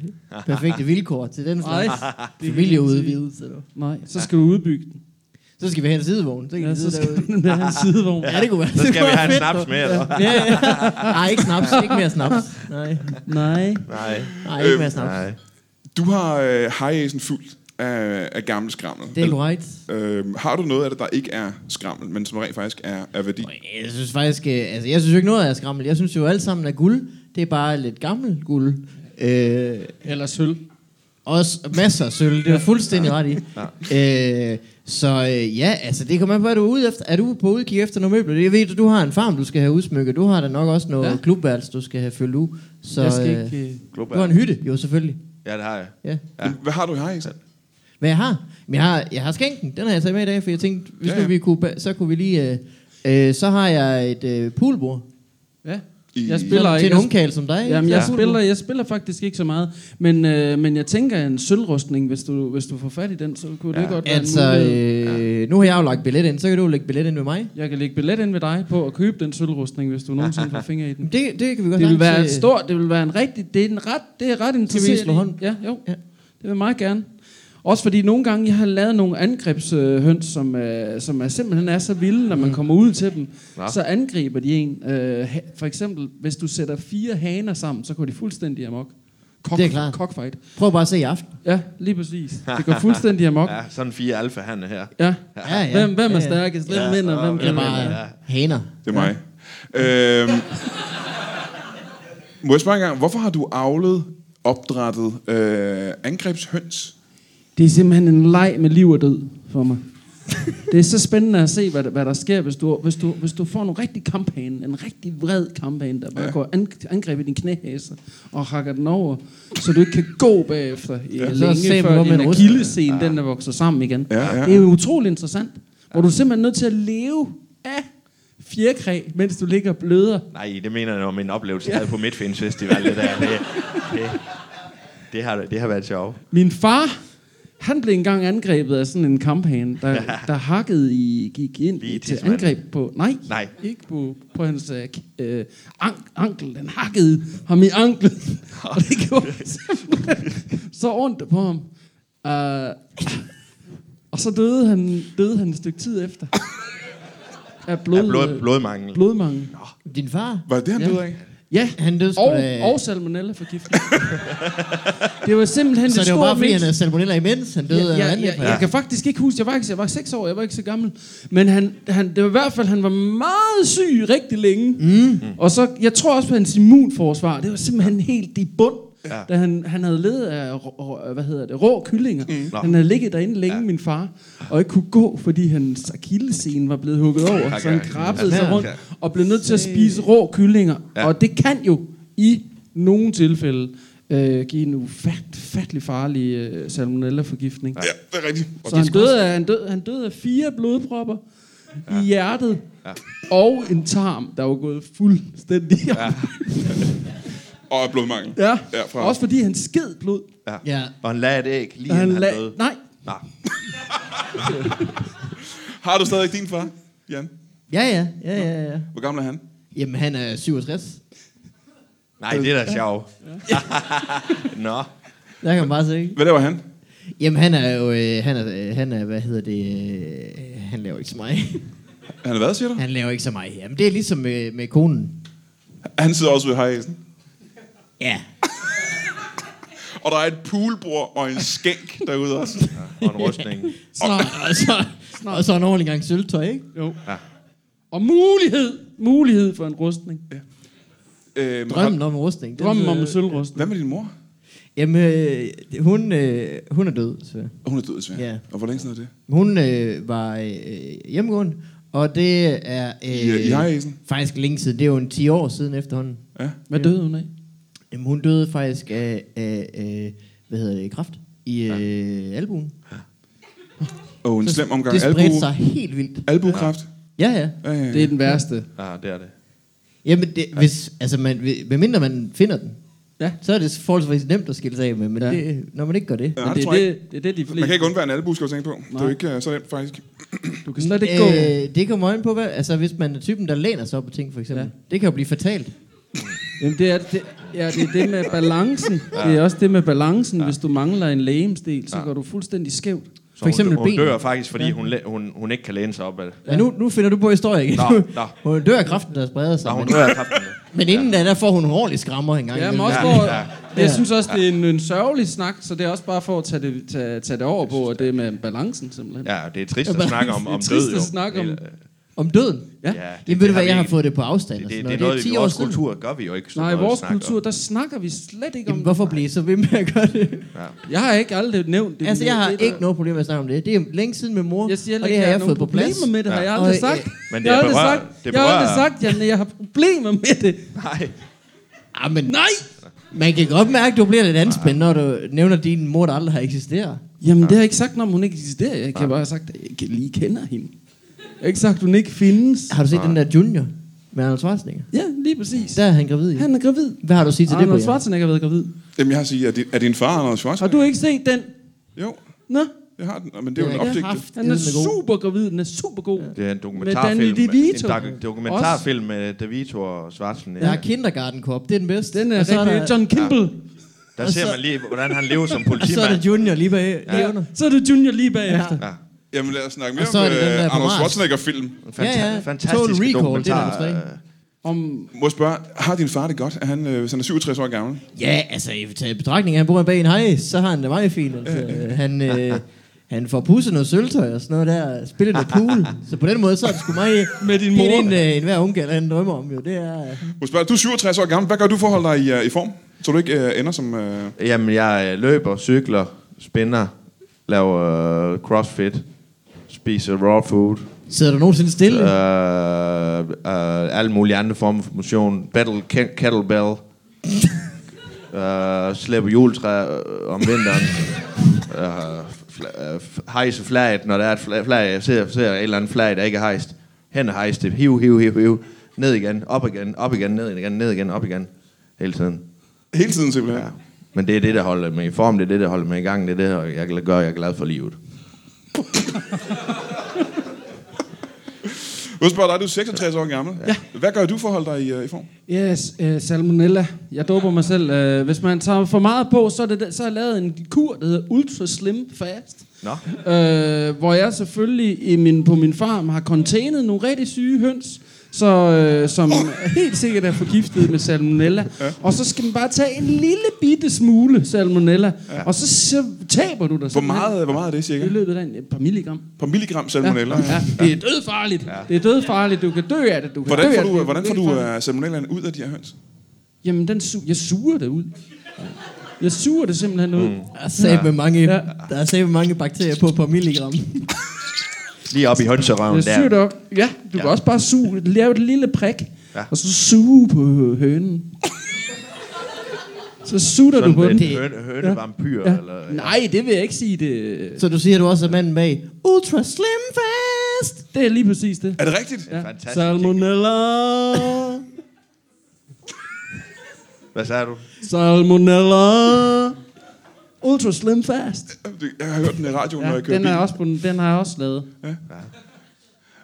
E: perfekte vilkår til den slags
B: Nej, det kan
E: familieudvidelse. du.
B: Nej, så skal du udbygge den.
E: Så skal vi have en sidevogn. Så kan
B: Ja,
E: vi
B: så
E: sidde
B: skal
E: derude.
B: den have en sidevogn.
E: Ja, det kunne være.
C: Så
E: det
C: skal
E: kunne
C: vi
E: være
C: have en
E: fedt,
C: snaps
E: du.
C: med, eller
E: Ja, ja. Nej, ikke snaps. Ikke mere snaps. Nej,
B: Nej.
C: Nej.
E: nej ikke mere snaps.
C: Nej.
A: Du har øh, high fyldt af, af gammel skrammel.
E: Det er korrekt.
A: Øh, har du noget af det, der ikke er skrammel, men som rent faktisk er, er værdi?
E: Jeg synes faktisk, øh, altså jeg synes jo ikke noget er skrammel. Jeg synes jo alt sammen er guld. Det er bare lidt gammel guld. Øh,
B: Eller sølv.
E: Også masser af sølv, det er du fuldstændig ret i. Øh, så øh, ja, altså det kommer an på, er du er ude efter, er du på udkig efter nogle møbler? Jeg ved, du har en farm, du skal have udsmykket. Du har da nok også noget ja.
B: Ja.
E: klubværelse, du skal have fyldt ud. Så,
B: Jeg skal
E: øh,
B: ikke... Øh...
E: Du har en hytte, jo selvfølgelig.
C: Ja, det har jeg.
E: Ja.
A: Ja. Hvad har du i high
E: Så Hvad jeg har? Men jeg har, jeg har skænken. Den har jeg taget med i dag, for jeg tænkte, hvis
A: Ja,
E: ja,
A: ja.
E: ja. Nu vi kunne, ba- så kunne vi lige... Øh, øh, så har jeg et øh, poolbord.
B: Ja.
A: I-
B: Jeg spiller
E: Sådan
B: ikke.
E: til en ungkal som dig.
B: Jamen,
E: Så
B: jeg,
E: et poolbord.
B: spiller, jeg spiller faktisk ikke så meget, men, øh, men jeg tænker en sølvrustning, hvis du, hvis du får fat i den, så kunne ja. det godt være
E: Altså,
B: en mulighed.
E: øh, nu har jeg jo lagt billet ind, så kan du lægge billet ind med mig.
B: Jeg kan lægge billet ind ved dig på at købe den sølvrustning, hvis du nogensinde får fingre i den.
E: Det, det kan vi godt
B: Det vil være en
E: sagtens, øh,
B: stor, det vil være en rigtig, det er en ret, det er ret interessant.
E: slå hånd?
B: Ja, jo. Ja.
E: Ja.
B: Det vil jeg meget gerne. Også fordi nogle gange, jeg har lavet nogle angrebshøns, som, øh, som er simpelthen er så vilde,
E: Mm.
B: når man kommer ud til dem.
C: Nå.
B: Så angriber de en. Øh, ha- for eksempel, hvis du sætter fire haner sammen, så går de fuldstændig amok. Cock,
E: Det er klart.
B: Cockfight.
E: Prøv bare at se i aften.
B: Ja, lige præcis. Det går fuldstændig amok.
C: Ja, sådan fire alfahanne her.
B: Ja.
E: Ja, ja.
B: Hvem, hvem
E: ja,
B: er
E: ja.
B: stærkest? Hvem vinder? Hvem
E: Eller
B: kan
E: bare
B: vinde?
E: øh, ja. haner.
A: Det er mig. Øhm, må jeg spørge en gang, hvorfor har du avlet, opdrættet øh, angrebshøns?
B: Det er simpelthen en leg med liv og død for mig. Det er så spændende at se, hvad, der- hvad der sker, hvis du, hvis, du, hvis du får en rigtig kamphane, en rigtig vred kamphane, der bare
A: Ja.
B: ja. går an, angreb i din knæhæse og hakker den over, så du ikke kan gå bagefter ja.
E: Så
B: længe
E: ser man,
B: før
E: hvor man
B: din
E: ryster.
B: akillescene, ja. den der vokser sammen igen.
A: Ja, ja.
B: Det er jo utrolig interessant, hvor du er simpelthen nødt til at leve af fjerkræ, mens du ligger og bløder.
C: Nej, det mener jeg om en oplevelse, jeg havde på Midtfins Festival. Det, der. Det, det, det, har, det har været sjovt.
B: Min far, han blev engang angrebet af sådan en kamphane, der, der hakkede i, gik ind
C: Lige i
B: Lige til
C: tidsmanden.
B: angreb på, nej,
C: Nej.
B: ikke på, på hans øh, k- øh, ank, ankel. Den hakkede ham i anklen, og det gjorde simpelthen så ondt på ham. Uh, og så døde han, døde han et stykke tid efter. Af blod, øh,
C: Ja, blod, blodmangel.
B: blodmangel.
E: Din far,
A: Var det det, han
B: Ja.
A: døde af?
B: Ja,
E: han døde sgu
B: og,
E: da-
B: og salmonella forgiftning. det var simpelthen
E: så
B: det
E: det var
B: store
E: bare fordi,
B: mix.
E: han havde salmonella imens. Han døde af
B: ja, ja,
E: ja, ja,
B: ja, Jeg kan faktisk ikke huske, jeg var, ikke, jeg var 6 år, jeg var ikke så gammel. Men han, han, det var i hvert fald, han var meget syg rigtig længe. Mm. Og så, jeg tror også på hans immunforsvar, det var simpelthen helt i bund. Ja. Da han, han havde ledet af rå- rå, hvad hedder det, rå kyllinger. Mm. Han havde ligget derinde længe, ja. min far, og ikke kunne gå, fordi hans akillescene var blevet hugget over. Så han krabbede sig rundt og blev nødt til at spise rå kyllinger. Ja. Og det kan jo i nogle tilfælde øh, give en ufattelig farlig øh, salmonella-forgiftning.
A: Ja, det er rigtigt. Og
B: Så
A: det
B: han døde, af, han, døde, han døde af fire blodpropper ja. i hjertet, ja. og en tarm, der var gået fuldstændig Ja,
A: Og af blodmangel.
B: ja.
A: Ja, fra-
B: også fordi han sked blod.
C: Ja.
E: Ja.
C: Og han lagde et æg, lige
B: Og
C: inden han,
B: la-
C: døde.
B: Nej,
C: Nej.
A: Har du stadig din far, Jan?
E: ja, ja, ja, ja, ja.
A: Hvor gammel er han?
E: Jamen, han er 67.
C: Nej, det er da sjovt. Nå.
E: Der kan man bare se.
A: Hvad laver han?
E: Jamen, han er jo... Øh, han, er, øh, han er, hvad hedder det... Øh, han laver ikke så meget.
A: Han er hvad, siger du?
E: han laver ikke så meget. Jamen, det er ligesom med, med konen.
A: Han sidder også ved hejsen.
E: Ja.
A: Og der er et poolbord og en skænk derude også.
C: Og en rustning.
E: Så, og, så, og så en ordentlig gang sølvtøj, ikke?
B: jo.
C: Ja.
B: Og mulighed, mulighed for en rustning.
A: Øhm,
E: Drømmen om en rustning. den,
B: Drømmen om
E: øh,
B: en sølvrustning.
A: Hvad med din mor?
E: Jamen, øh, hun, øh, hun er død, så...
A: Og Hun er død, desværre.
E: Ja.
A: Og hvor længe siden er det?
E: Hun øh, var øh, hjemmegående, og det er øh,
A: I- I Hejsen?
E: faktisk længe siden. Det er jo en 10 år siden efterhånden.
A: Ja.
B: Hvad døde hun af?
E: Jamen, hun døde faktisk af, af, af hvad hedder det, kraft i øh, albuen.
A: Og en slem omgang
E: det spredte
A: albu,
E: sig helt vildt.
A: albukraft.
E: Ja, ja.
A: Ja, ja, ja.
B: Det er den værste.
C: Ja, det er det.
E: Jamen, det, hvis, altså, man, medmindre man finder den,
B: Ja.
E: så er det forholdsvis nemt at skille sig af med, men
B: Ja.
E: ja. det, når man ikke gør det.
A: Ja,
B: Men
A: det
B: det, er
A: tror jeg
B: det, det er det, de fleste.
A: Man kan ikke undvære en albu, skal du tænke på. Det er jo
B: Nej.
A: ikke øh, så nemt, faktisk.
B: Du kan slet ikke gå.
E: Øh, det kommer øjen på, hvad, altså hvis man er typen, der læner sig op på ting, for eksempel.
B: Ja.
E: Ja. Det kan jo blive fatalt.
B: Jamen, det er det, ja, det, er det med balancen. Det er også det med balancen. Hvis du mangler en lægemsdel, så går du fuldstændig skævt.
C: Så
E: For eksempel
C: hun, hun
E: ben.
C: dør faktisk, fordi hun, læ- hun, hun ikke kan læne sig op af det.
E: Ja. Men nu, nu finder du på historie igen.
C: Nå, nå.
E: hun dør af kraften, der spreder sig.
C: Nå, hun
E: men,
C: dør af kraften.
E: men inden da, der får hun en ordentlig skrammer en gang.
B: Ja, men
E: imellem.
B: også
C: Ja,
B: for,
C: ja.
B: Jeg synes også, det er en, en sørgelig snak, så det er også bare for at tage det, tage, tage det over på, og det med balancen simpelthen.
C: Ja, det er trist
E: Ja,
C: at snakke om,
B: det er
C: om
B: trist
C: død.
B: at
C: jo.
B: snakke om.
C: Det, øh,
E: Om døden.
B: Ja.
C: Ja, det,
E: Jamen ved du hvad,
C: vi
E: jeg har
C: ikke-
E: fået det på afstand.
C: Det,
E: og
C: det,
E: sådan
C: det, det er noget,
E: det er
C: i
E: 10 år
C: vores
E: siden.
C: kultur gør vi jo ikke. sådan
B: Nej, i
C: noget
B: vores
C: snak om.
B: kultur, der snakker vi slet ikke om
E: Jamen, hvorfor blive så ved med at gøre det?
B: det. Jeg har ikke aldrig nævnt det.
E: Altså, jeg har
B: Det er der-
E: ikke noget problem med at snakke om det. Det er længe siden med mor,
B: Jeg siger,
E: og det har
B: jeg
E: jeg fået på
B: problemer
E: plads.
B: med det, har
C: Ja.
B: jeg aldrig
E: Og, øh,
B: sagt.
C: Men det
B: jeg har aldrig
C: berører-
B: sagt,
C: det
B: jeg har aldrig
C: berører-
B: sagt, Janne, jeg har problemer med det.
C: Nej.
E: Ah, men
B: Nej!
E: man kan godt mærke, at du bliver lidt anspændt, når du nævner din mor, der aldrig har eksisteret.
B: Jamen, det har jeg ikke sagt, når hun ikke eksisterer. Jeg kan bare have sagt, at jeg ikke lige kender hende. Jeg har ikke sagt, at hun ikke findes.
E: Har du set den der junior med Arnold Schwarzenegger?
B: Ja, lige præcis.
E: Der er han gravid i.
B: Han er gravid.
E: Hvad har du at sige til det,
B: Arnold
E: Brian?
B: Schwarzenegger har været gravid.
A: Jamen, jeg har sige, er, det, er din far, Anders
B: Har
A: Schwarzenegger?
B: du ikke set den?
A: Jo,
B: Nå,
A: jeg har den, men det er jo
E: Det
A: en
E: er ikke
A: opdigtet.
E: haft.
B: han er
E: Eddermame god.
B: super gravid. Den er super god. Ja.
C: Det er en
B: Danny
C: dokumentarfilm.
B: DeVito.
C: En dak- dokumentarfilm med DeVito og Schwarzenegger.
E: Der er Kindergarten Cop, det er den bedste.
B: Den er
E: og så er
B: rigtig...
E: der,
B: John Kimble.
C: Der
E: Og
C: ser
E: så-
C: man lige, hvordan han lever som
E: og så er der
C: politimand.
E: Junior lige bag. Ja. Lige
B: Ja.
E: under.
B: Så er det Junior lige bagefter.
C: Ja.
A: Jamen, lad os snakke
E: Og
A: mere
E: så er
A: om
E: det den der
A: øh,
E: på
A: Anders
E: Mars.
A: Schwarzenegger-film.
C: Fanta-
E: Ja, ja.
C: Fantastisk
E: Total Recall,
C: dokumentar.
E: det er der
C: øh,
B: Om,
A: Må jeg spørge, har din far det godt? Er han, øh, hvis han er 67 år gammel?
E: Ja, altså i tager i betragtning, af, han bor bag en hej, så har han det meget fint. Altså, Øh, han, øh, han får pusset noget sølvtøj og sådan noget der, spiller noget pool. Så på den måde, så er det sgu meget...
B: Med din
E: Det
B: mor.
E: er en, øh, enhver unge, eller han drømmer om jo. Det er, øh,
A: Må jeg spørge, du er 67 år gammel. Hvad gør du for at holde dig i, øh, i form? Så du ikke øh, ender som... Øh...
C: Jamen, jeg øh, løber, cykler, spinner, laver øh, crossfit, spiser raw food,
E: sidder du nogensinde stille? Ja.
C: øh, øh, alle mulige andre former for motion, battle ke- kettlebell, øh, slæber juletræ øh, om vinteren, øh, fla- øh, f- hejse flaget, når der er et flag, flag jeg ser, ser et eller andet flag, der ikke er hejst, hen og hejse det, hiv, hiv, hiv, hiv, ned igen, op igen, op igen, ned igen, ned igen, op igen, hele tiden.
A: Hele tiden simpelthen.
C: Ja. Men det er det, der holder mig i form, det er det, der holder mig i gang, det er det, der jeg gør, jeg er glad for livet.
A: Må jeg spørge dig, du er 66 år gammel. Ja. Hvad gør du for at holde dig i, øh, i form?
B: Yes, øh, salmonella. Jeg doper mig selv. Øh, hvis man tager for meget på, så er, det, så er jeg lavet en kur, der hedder Ultra Slim Fast.
C: Nå.
B: Øh, hvor jeg selvfølgelig i min, på min farm har containet nogle rigtig syge høns, så, øh, som helt sikkert er forgiftet med salmonella. Ja. Og så skal man bare tage en lille bitte smule salmonella, ja. og så, så taber du dig
A: Hvor
B: simpelthen.
A: meget, øh, hvor meget er det cirka?
B: I løbet af en, et par milligram.
A: På milligram salmonella?
B: Ja, det er dødfarligt. Ja. Det er dødfarligt. Du kan dø af det. Du kan dø
A: Hvordan får
B: af det.
A: du, hvordan får du
B: Dødfarligt.
A: uh, salmonellaen ud af de her høns?
B: Jamen, den su- jeg suger det ud. Jeg suger det simpelthen ud. Mm.
E: Der er sat med mange,
B: Ja.
E: ja. der er sat med mange bakterier på per milligram.
C: Lige op i hønserøven
B: Jeg suger det
C: der.
B: op. Ja, du ja. kan også bare suge, lave et lille prik, ja.
C: Ja.
B: og så suge på hø- hønen. så sutter du
C: Sådan
B: på
C: en
B: den.
C: høne, hønevampyr,
B: Ja.
C: eller...
B: Nej, det vil jeg ikke sige. Det,
E: Så du siger du også, at manden bag Ultra Slim Fast.
B: det er lige præcis det.
A: Er det rigtigt?
B: Ja.
C: fantastisk.
B: Salmonella.
C: Hvad sagde du?
B: Salmonella. Ultra slim fast.
A: Det- Jeg har hørt den i radioen, når
B: Ja,
A: jeg kører
B: den, er
A: bil.
B: også på, den den har jeg også lavet.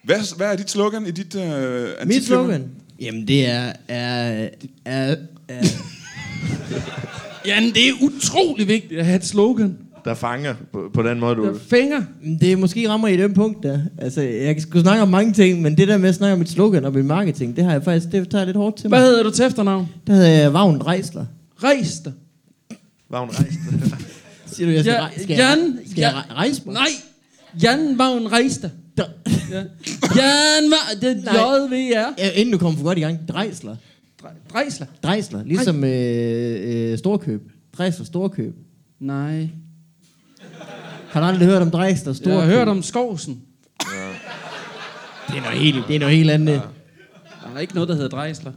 A: Hvad, hvad er dit slogan i dit... Uh,
E: Mit slogan? Jamen det er... er, er, er
B: Jamen, det er utrolig vigtigt at have et slogan.
C: Der fanger på, på den måde,
B: Der
C: du...
B: fænger.
E: det er måske rammer i den punkt der. Altså, jeg kan sgu snakke om mange ting, men det der med at snakke om mit slogan og mit marketing, det har jeg faktisk, det tager jeg lidt hårdt til mig.
B: Hvad hedder du til efternavn?
E: Der hedder jeg Vagn Rejsler.
B: Rejster.
C: Var hun rejst?
E: Siger du, jeg skal,
B: Ja,
E: ja, rej- skal,
B: Jan-
E: jeg, skal jeg
B: Ja-
E: re- rejse mig?
B: Nej! Jan Vagn Rejster.
E: Der,
B: Ja. Jan Vagn... Det er
E: Nej.
B: JVR.
E: ja, inden du kommer for godt i gang, Drejsler.
B: Drejsler.
E: Drejsler, ligesom øh, øh, Storkøb. Drejsler Storkøb.
B: Nej.
E: Har du aldrig hørt om Drejsler Storkøb?
B: Jeg har hørt om Skovsen.
E: Det er noget helt, det er noget helt andet. Ja.
B: Der er ikke noget, der hedder Drejsler.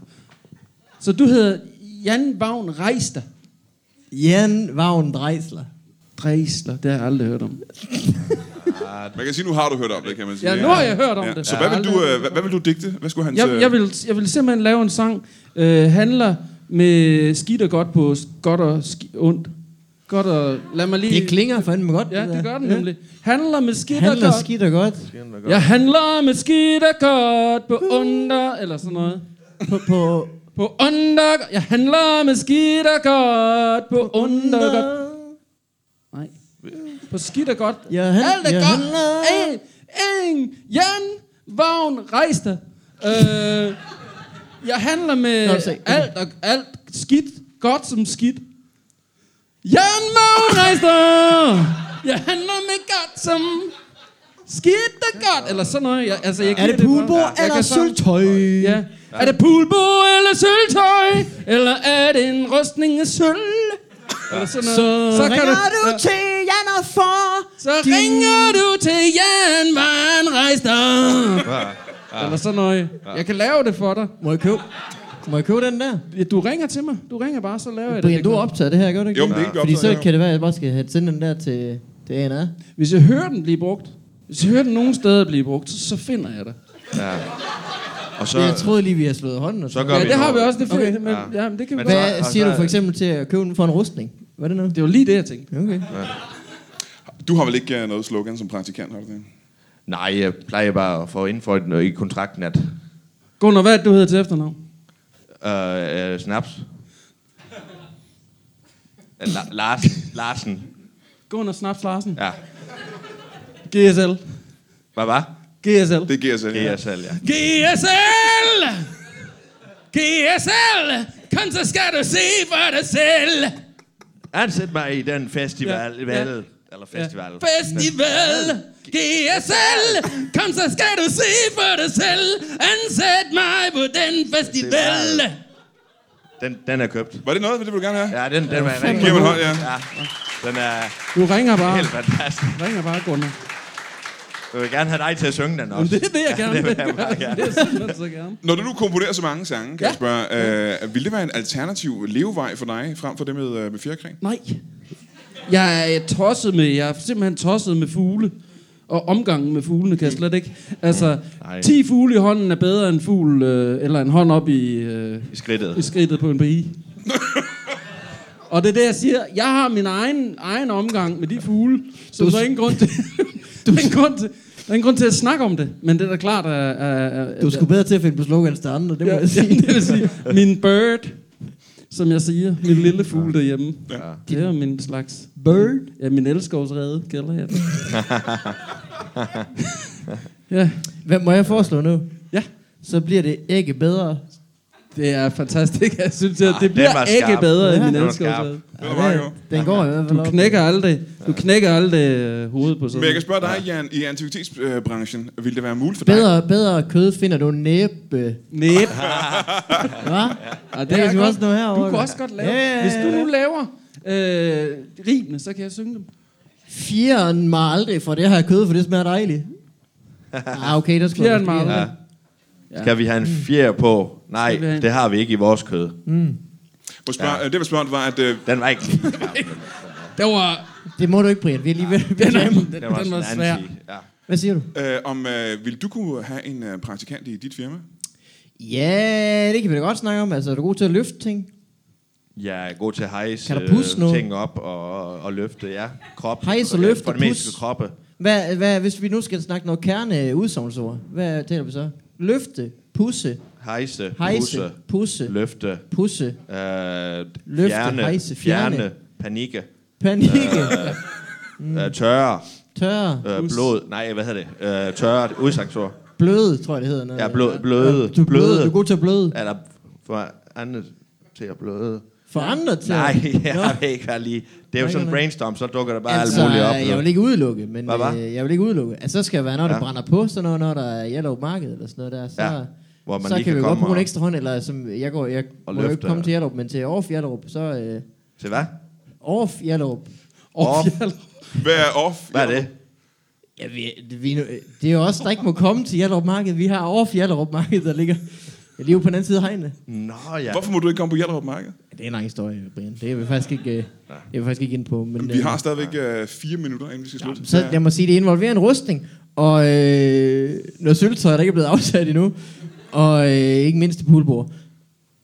B: Så du hedder Jan Vagn Rejster.
E: Jan Vagn Drejsler.
B: Drejsler, det har jeg aldrig hørt om.
A: Man kan sige, nu har du hørt om det, kan man sige.
B: Ja, nu har jeg hørt om det.
A: Så hvad vil,
B: Jeg har
A: du,
B: aldrig hørt
A: uh, hvad, hvad vil du digte? Hvad skulle han
B: Jeg, jeg, vil, jeg vil simpelthen lave en sang, øh, handler med skidt og godt på s- godt og ski- ondt. Godt og... Lad mig lige...
E: Det klinger fandme godt.
B: Ja,
E: der.
B: det gør den nemlig. Handler med skidt og
E: Handler
B: godt.
E: skidt og godt.
B: Jeg handler med skidt og godt på under, eller sådan noget.
E: På, på
B: På under, jeg handler med skidt og godt på under. godt. Nej. På skidt og godt.
E: Jeg han-
B: Alt er
E: jeg
B: godt.
E: handler-
B: Ej, eng, Jan, vagn, rejste. Øh, jeg handler med
E: Nå, se.
B: alt, og, alt skidt, godt som skidt. Jan Vagn, rejste. Jeg handler med godt som skidt og godt. Eller sådan noget. Jeg, altså, jeg
E: Er det
B: giver
E: pulbo
B: bare. Jeg
E: eller
B: kan sådan-
E: sølvtøj?
B: Ja. Er det pulbo eller sølvtøj? Eller er det en rustning af sølv? Eller sådan noget.
E: Så, ringer du
B: ja.
E: til Jan og for
B: Så ringer du til Jan Van Reister.
C: Ja.
B: Eller sådan noget.
C: Ah.
B: Jeg kan lave det for dig.
E: Må jeg købe? Må jeg købe den der?
B: Du ringer til mig. Du ringer bare, så laver jeg det.
E: Brian, du har optaget det her, gør du ikke
A: Jo, men det er ikke
E: Fordi så
A: optaget, jo.
E: kan det være, at jeg bare skal have sendt den der til... Det er en af.
B: Hvis jeg hører den blive brugt, hvis jeg hører den nogen steder blive brugt, så, så finder jeg det.
C: Og så,
E: Jeg troede lige, vi havde slået hånden. Og
C: så
E: sådan.
C: gør
B: Ja,
C: vi
B: det har vi
C: noget.
B: også, det finder,
E: Okay.
B: okay. men, ja. men det kan vi
C: Men
B: godt.
C: hvad-
E: Hvad
C: Og
E: siger
C: så-
E: du for eksempel til at købe den for en rustning? Hvad er det noget?
B: Det var lige det, jeg tænkte.
E: Okay.
A: Du har vel ikke øh, noget slogan som praktikant, har du det?
C: Nej, jeg plejer bare at få indføjt noget i kontrakten, at
B: Gunnar, hvad er det, du hedder til efternavn?
C: øh, øh, snaps. Øh, La- Lars, Larsen.
B: Gunnar Snaps Larsen.
C: Ja.
B: GSL.
C: Hvad var?
B: GSL.
A: Det giver sig.
C: Det er jeg selv, ja.
B: GSL! GSL! Kom, så skal du se for dig selv.
C: Ansæt mig i den festival.
B: Ja,
C: Ja.
B: ja.
C: Vel, eller festival. Ja.
B: Festival! GSL! Kom, så skal du se for dig selv. Ansæt mig på den festival.
C: Den, den er købt.
A: Var det noget, det vil du gerne have?
C: Ja, den, den var
A: Ja, Giver
C: rigtig
A: mig en
C: god.
A: hånd, ja.
C: Ja, den er
B: Du ringer bare.
C: helt fantastisk.
B: Du ringer bare, Gunnar.
C: Jeg vil gerne have dig til at synge den
B: Jamen,
C: også.
B: det er det, jeg gerne
C: det
B: vil.
C: vil jeg meget
B: gøre.
C: gerne.
B: Det er simpelthen så gerne.
A: Når du nu komponerer så mange sange, kan
B: Ja.
A: ja. jeg spørge, øh, ville det være en alternativ levevej for dig, frem for det med, øh, med fjerkræ?
B: Nej. Jeg er tosset med, jeg er simpelthen tosset med fugle. Og omgangen med fuglene kan jeg slet ikke. Altså,
C: Nej.
B: 10 fugle i hånden er bedre end fugl, øh, eller en hånd op i, øh,
C: I skridtet.
B: i skridtet på en BI. og det er det, jeg siger. Jeg har min egen, egen omgang med de fugle, så
E: Du-
B: der er ingen grund til... der er ingen grund til der er ingen grund til at snakke om det, men det er da klart, at... at, at
E: Du skulle bedre til at finde på slogans til andre, det må
B: ja,
E: jeg
B: ja,
E: sige.
B: det vil sige, min bird, som jeg siger, min lille fugl derhjemme. Ja. Det er min slags...
E: Bird.
B: Ja, min elskovsrede kalder jeg det. ja.
E: Hvad må jeg foreslå nu?
B: ja,
E: Så bliver det ikke bedre.
B: det er fantastisk. Jeg synes, at det
C: den
B: bliver
C: var
B: ikke
C: skarp.
B: bedre end
E: Ja.
B: min
C: Den var
B: elskovsrede.
A: Det var meget
E: Ja,
A: godt.
E: Den går i hvert fald
B: Du
E: op.
B: knækker aldrig, du knækker aldrig øh, hovedet på sådan
A: Men jeg kan
B: noget.
A: spørge dig, Jan, i antikvitetsbranchen, ville det være muligt for dig?
E: Bedre, bedre kød finder du næbe.
B: Næb.
E: Hva?
B: Ja, det
E: kan
B: er
E: vi
B: godt.
E: også nå herovre,
B: Du Ah, kan
E: da.
B: også godt lave.
E: Ja, ja, ja.
B: Hvis du nu laver øh, rimene, så kan jeg synge dem.
E: Fjeren mig aldrig for det her kød, for det smager dejligt. Ah, okay, der skulle jeg
B: Fjeren mig
E: måske-
B: aldrig.
C: Skal vi have en fjer på? Nej,
B: Skal vi have en-
C: det har vi ikke i vores kød.
A: Må jeg spørge, ja. Det, jeg vil spørge, var, at øh,
C: Den var ikke lige.
B: Det var,
E: Det må du ikke, Brian. Vi er lige ved
B: den, den,
C: Den var,
B: den var
C: sådan
B: svær.
C: anti. Ja.
E: Hvad siger du?
A: øh, om øh, vil du kunne have en øh, praktikant i dit firma?
E: Ja, det kan vi da godt snakke om. Altså, er du god til at løfte ting?
C: Jeg er god til at hejse
E: Kan du pusse
C: øh,
E: noget?
C: ting op og, og løfte, ja. Krop.
E: Hejse og
C: Øh,
E: løfte,
C: For det meste
E: pus.
C: kroppe.
E: Hvad, hvad, hvis vi nu skal snakke noget kerne udsagnsord, hvad taler vi så? Løfte, pusse,
C: Hejse,
E: hejse,
C: pusse,
E: pusse,
C: løfte,
E: pusse,
C: øh,
E: Løfte,
C: fjerne,
E: hejse, fjerne.
C: fjerne, panikke,
E: panikke, Mm.
C: øh, tørre,
E: tørre,
C: øh, blod, nej, hvad hedder det, øh, tørre, udsangsord,
E: bløde, tror jeg det hedder. Noget.
C: ja, blod, bløde,
E: Du er bløde, du er god til at bløde.
C: Eller for andet til at bløde.
E: For andre til.
C: Nej, jeg
E: Nå.
C: ved ikke hvad lige. Det er jo
E: Nej,
C: sådan en
E: nej.
C: brainstorm, så dukker der bare altså,
E: Altså,
C: alt muligt op.
E: jeg vil ikke udelukke, men
C: Hvad, hvad?
E: øh, jeg vil ikke udelukke. Altså, så skal det være, når ja.
C: Ja.
E: det brænder på, så når, når der er yellow market eller sådan noget der, så,
C: Ja, hvor man
E: så
C: lige
E: kan
C: kan
E: vi godt
C: komme
E: bruge en
C: og-
E: ekstra hånd, eller som jeg går, jeg
C: Og
E: må jo ikke
C: løfte.
E: komme til Hjallerup, men til Orf Hjallerup, så øh,
C: Til hvad?
E: Orf Hjallerup.
B: Åh,
C: Off.
B: fjall.
A: Hvad er off?
C: Hvad er det?
E: Ja, vi, det- vi, nu- øh, det er jo os, der ikke må komme til Hjallerup Marked. Vi har Orf Hjallerup Marked, der ligger lige ude på den anden side af hegnet.
C: Nå ja.
A: Hvorfor må du ikke komme på Hjallerup Marked?
E: Ja, det er en lang historie, Brian. Det er vi faktisk ikke, øh, det er vi faktisk ikke ind på. Men,
A: Vi
E: øh,
A: har stadigvæk øh, fire minutter, inden vi skal slutte.
E: Så jeg må sige, det involverer en rustning, og øh, noget sølvtøj, der ikke er blevet afsat endnu, og øh, ikke mindst til poolbord.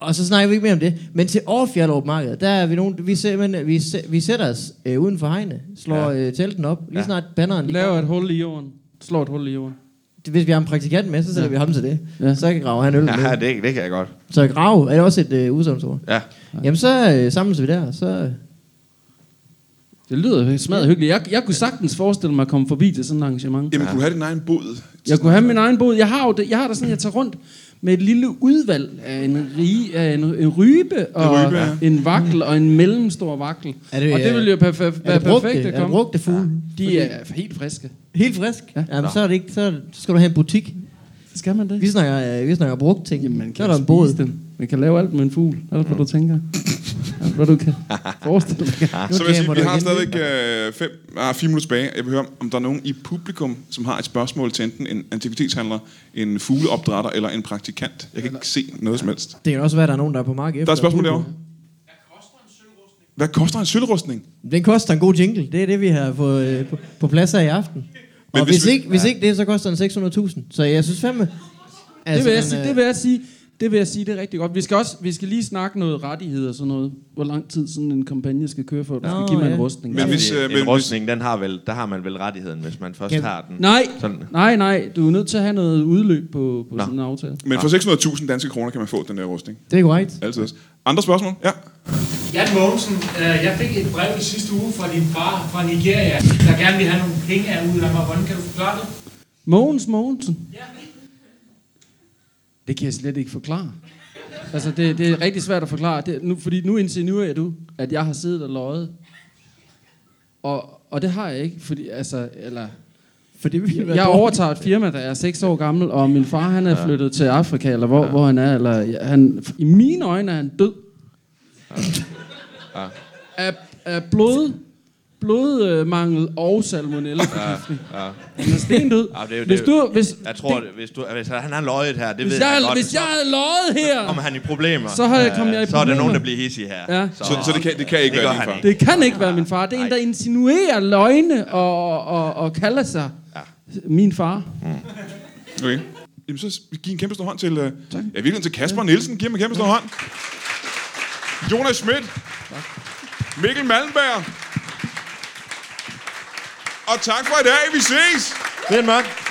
E: Og så snakker vi ikke mere om det. Men til Overfjallup Marked, der er vi nogen, vi, simpelthen, vi, sæ- vi sætter os øh, uden for hegnet, slår ja. øh, telten op, lige
C: Ja.
E: snart banneren lige
B: Laver et hul i jorden. Slår et hul i jorden.
E: Hvis vi har en praktikant med, så sætter ja. vi ham til det.
B: Ja.
E: Ja. Så kan graver han øl med.
C: Ja, det, det kan jeg godt.
E: Så grav er det også et øh, udsagnsord.
C: Ja.
E: Jamen så øh, samles vi der, og så... Øh,
B: Det lyder smadret hyggeligt. Jeg, jeg kunne sagtens forestille mig at komme forbi til sådan et arrangement.
A: Jamen, kunne du have din egen bod?
B: Jeg kunne have min egen bod. Jeg har jo det, jeg har da sådan, jeg tager rundt med et lille udvalg af en, rige, af en, en rybe og
A: En rybe, ja.
B: en vakkel og en mellemstor vakkel.
E: Er det,
B: og det
E: øh,
B: ville jo perfe-
E: er
B: være
E: det brugte,
B: perfekt at
E: er det
B: komme.
E: brugte fugle?
B: De er helt friske.
E: Helt frisk? Ja. Jamen, så, er det ikke, så skal du have en butik.
B: Skal man det?
E: Vi snakker, øh, vi snakker brugt ting.
B: Jamen, man
E: så
B: kan
E: er der
B: jo
E: en båd.
B: spise dem. Man kan lave alt med en fugl. Alt hvad du tænker. Alt hvad du kan forestille dig.
A: Ah, Så vil jeg sige,
E: gamer
A: vi
E: du
A: har
E: igen,
A: stadigvæk øh, fem, ah, fire minutter tilbage. Jeg vil høre, om der er nogen i publikum, som har et spørgsmål til enten en antikvitetshandler, en fugleopdrætter eller en praktikant. Jeg kan ikke se noget som helst.
E: Det kan også være, at der er nogen, der er på mark efter.
A: Der er et spørgsmål derovre. Hvad koster en sølvrustning?
E: Den koster en god jingle. Det er det, vi har fået øh, på, på plads af i aften. Men og hvis,
A: hvis
E: hvis,
A: vi-
E: ikke, hvis ikke det, så koster den 600.000. Så jeg synes fandme...
B: det, vil jeg
E: den,
B: sige,
E: øh,
B: det vil jeg sige, det vil jeg sige, det er rigtig godt. Vi skal også, vi skal lige snakke noget rettigheder og sådan noget. Hvor lang tid sådan en kampagne skal køre for, at du
E: Nå,
B: skal give mig
E: ja.
B: en rustning.
A: Men
B: Ja.
A: hvis, øh,
C: en
A: men-
C: rustning, den har vel, der har man vel rettigheden, hvis man først
E: Kan-
C: har den.
B: Nej,
C: Sådan.
B: nej, nej. Du er nødt til at have noget udløb på, på
C: Nå.
B: sådan en aftale.
A: Men for 600.000 danske kroner kan man få den der rustning.
E: Det er korrekt.
A: Altid. Andre spørgsmål? Ja.
F: Jan Mogensen, øh, jeg fik et brev i sidste uge fra din far fra Nigeria, der gerne vil have nogle penge af ud af mig. Hvordan kan du forklare det?
B: Mogens Mogensen? Det kan jeg slet ikke forklare. Altså, det, det er rigtig svært at forklare. Det, nu, fordi nu insinuerer du, at jeg har siddet og løjet. Og, og det har jeg ikke, fordi, altså, eller...
E: For det vil være
B: Jeg
E: dårligt.
B: overtager et firma, der er 6 år gammel, og min far, han er flyttet til Afrika, eller hvor, hvor han er, eller han, i mine øjne er han død. Af, af blod, blodmangel og salmonellaforgiftning. Han er stendød.
C: Ja, det er jo-
B: Hvis
C: det er jo-
B: du, hvis,
C: Jeg tror, det, hvis, du, hvis han har løjet her, det
B: hvis
C: ved
B: jeg,
C: jeg godt.
B: hvis jeg
C: så
B: havde løjet
C: kommer
B: her,
C: han i problemer.
B: Så har jeg- kom
C: Øh,
B: jeg i
C: Så er der
B: problemer.
C: nogen, der bliver hissige her.
B: Ja.
A: Så, så det, kan, det kan ikke
C: Det
A: være
C: gør
A: din
C: han
A: far.
C: ikke.
B: det kan ikke være min far. Det er en, der insinuerer løgne og, og, og kalder sig min far.
A: Okay. Jamen, så giv en kæmpe stor hånd til... Øh, ja, virkelig til Kasper Nielsen. Giv ham en kæmpe stor hånd. Jonas Schmidt. Mikkel Malmberg. Og tak for i dag. Vi ses.
C: Det er mørkt.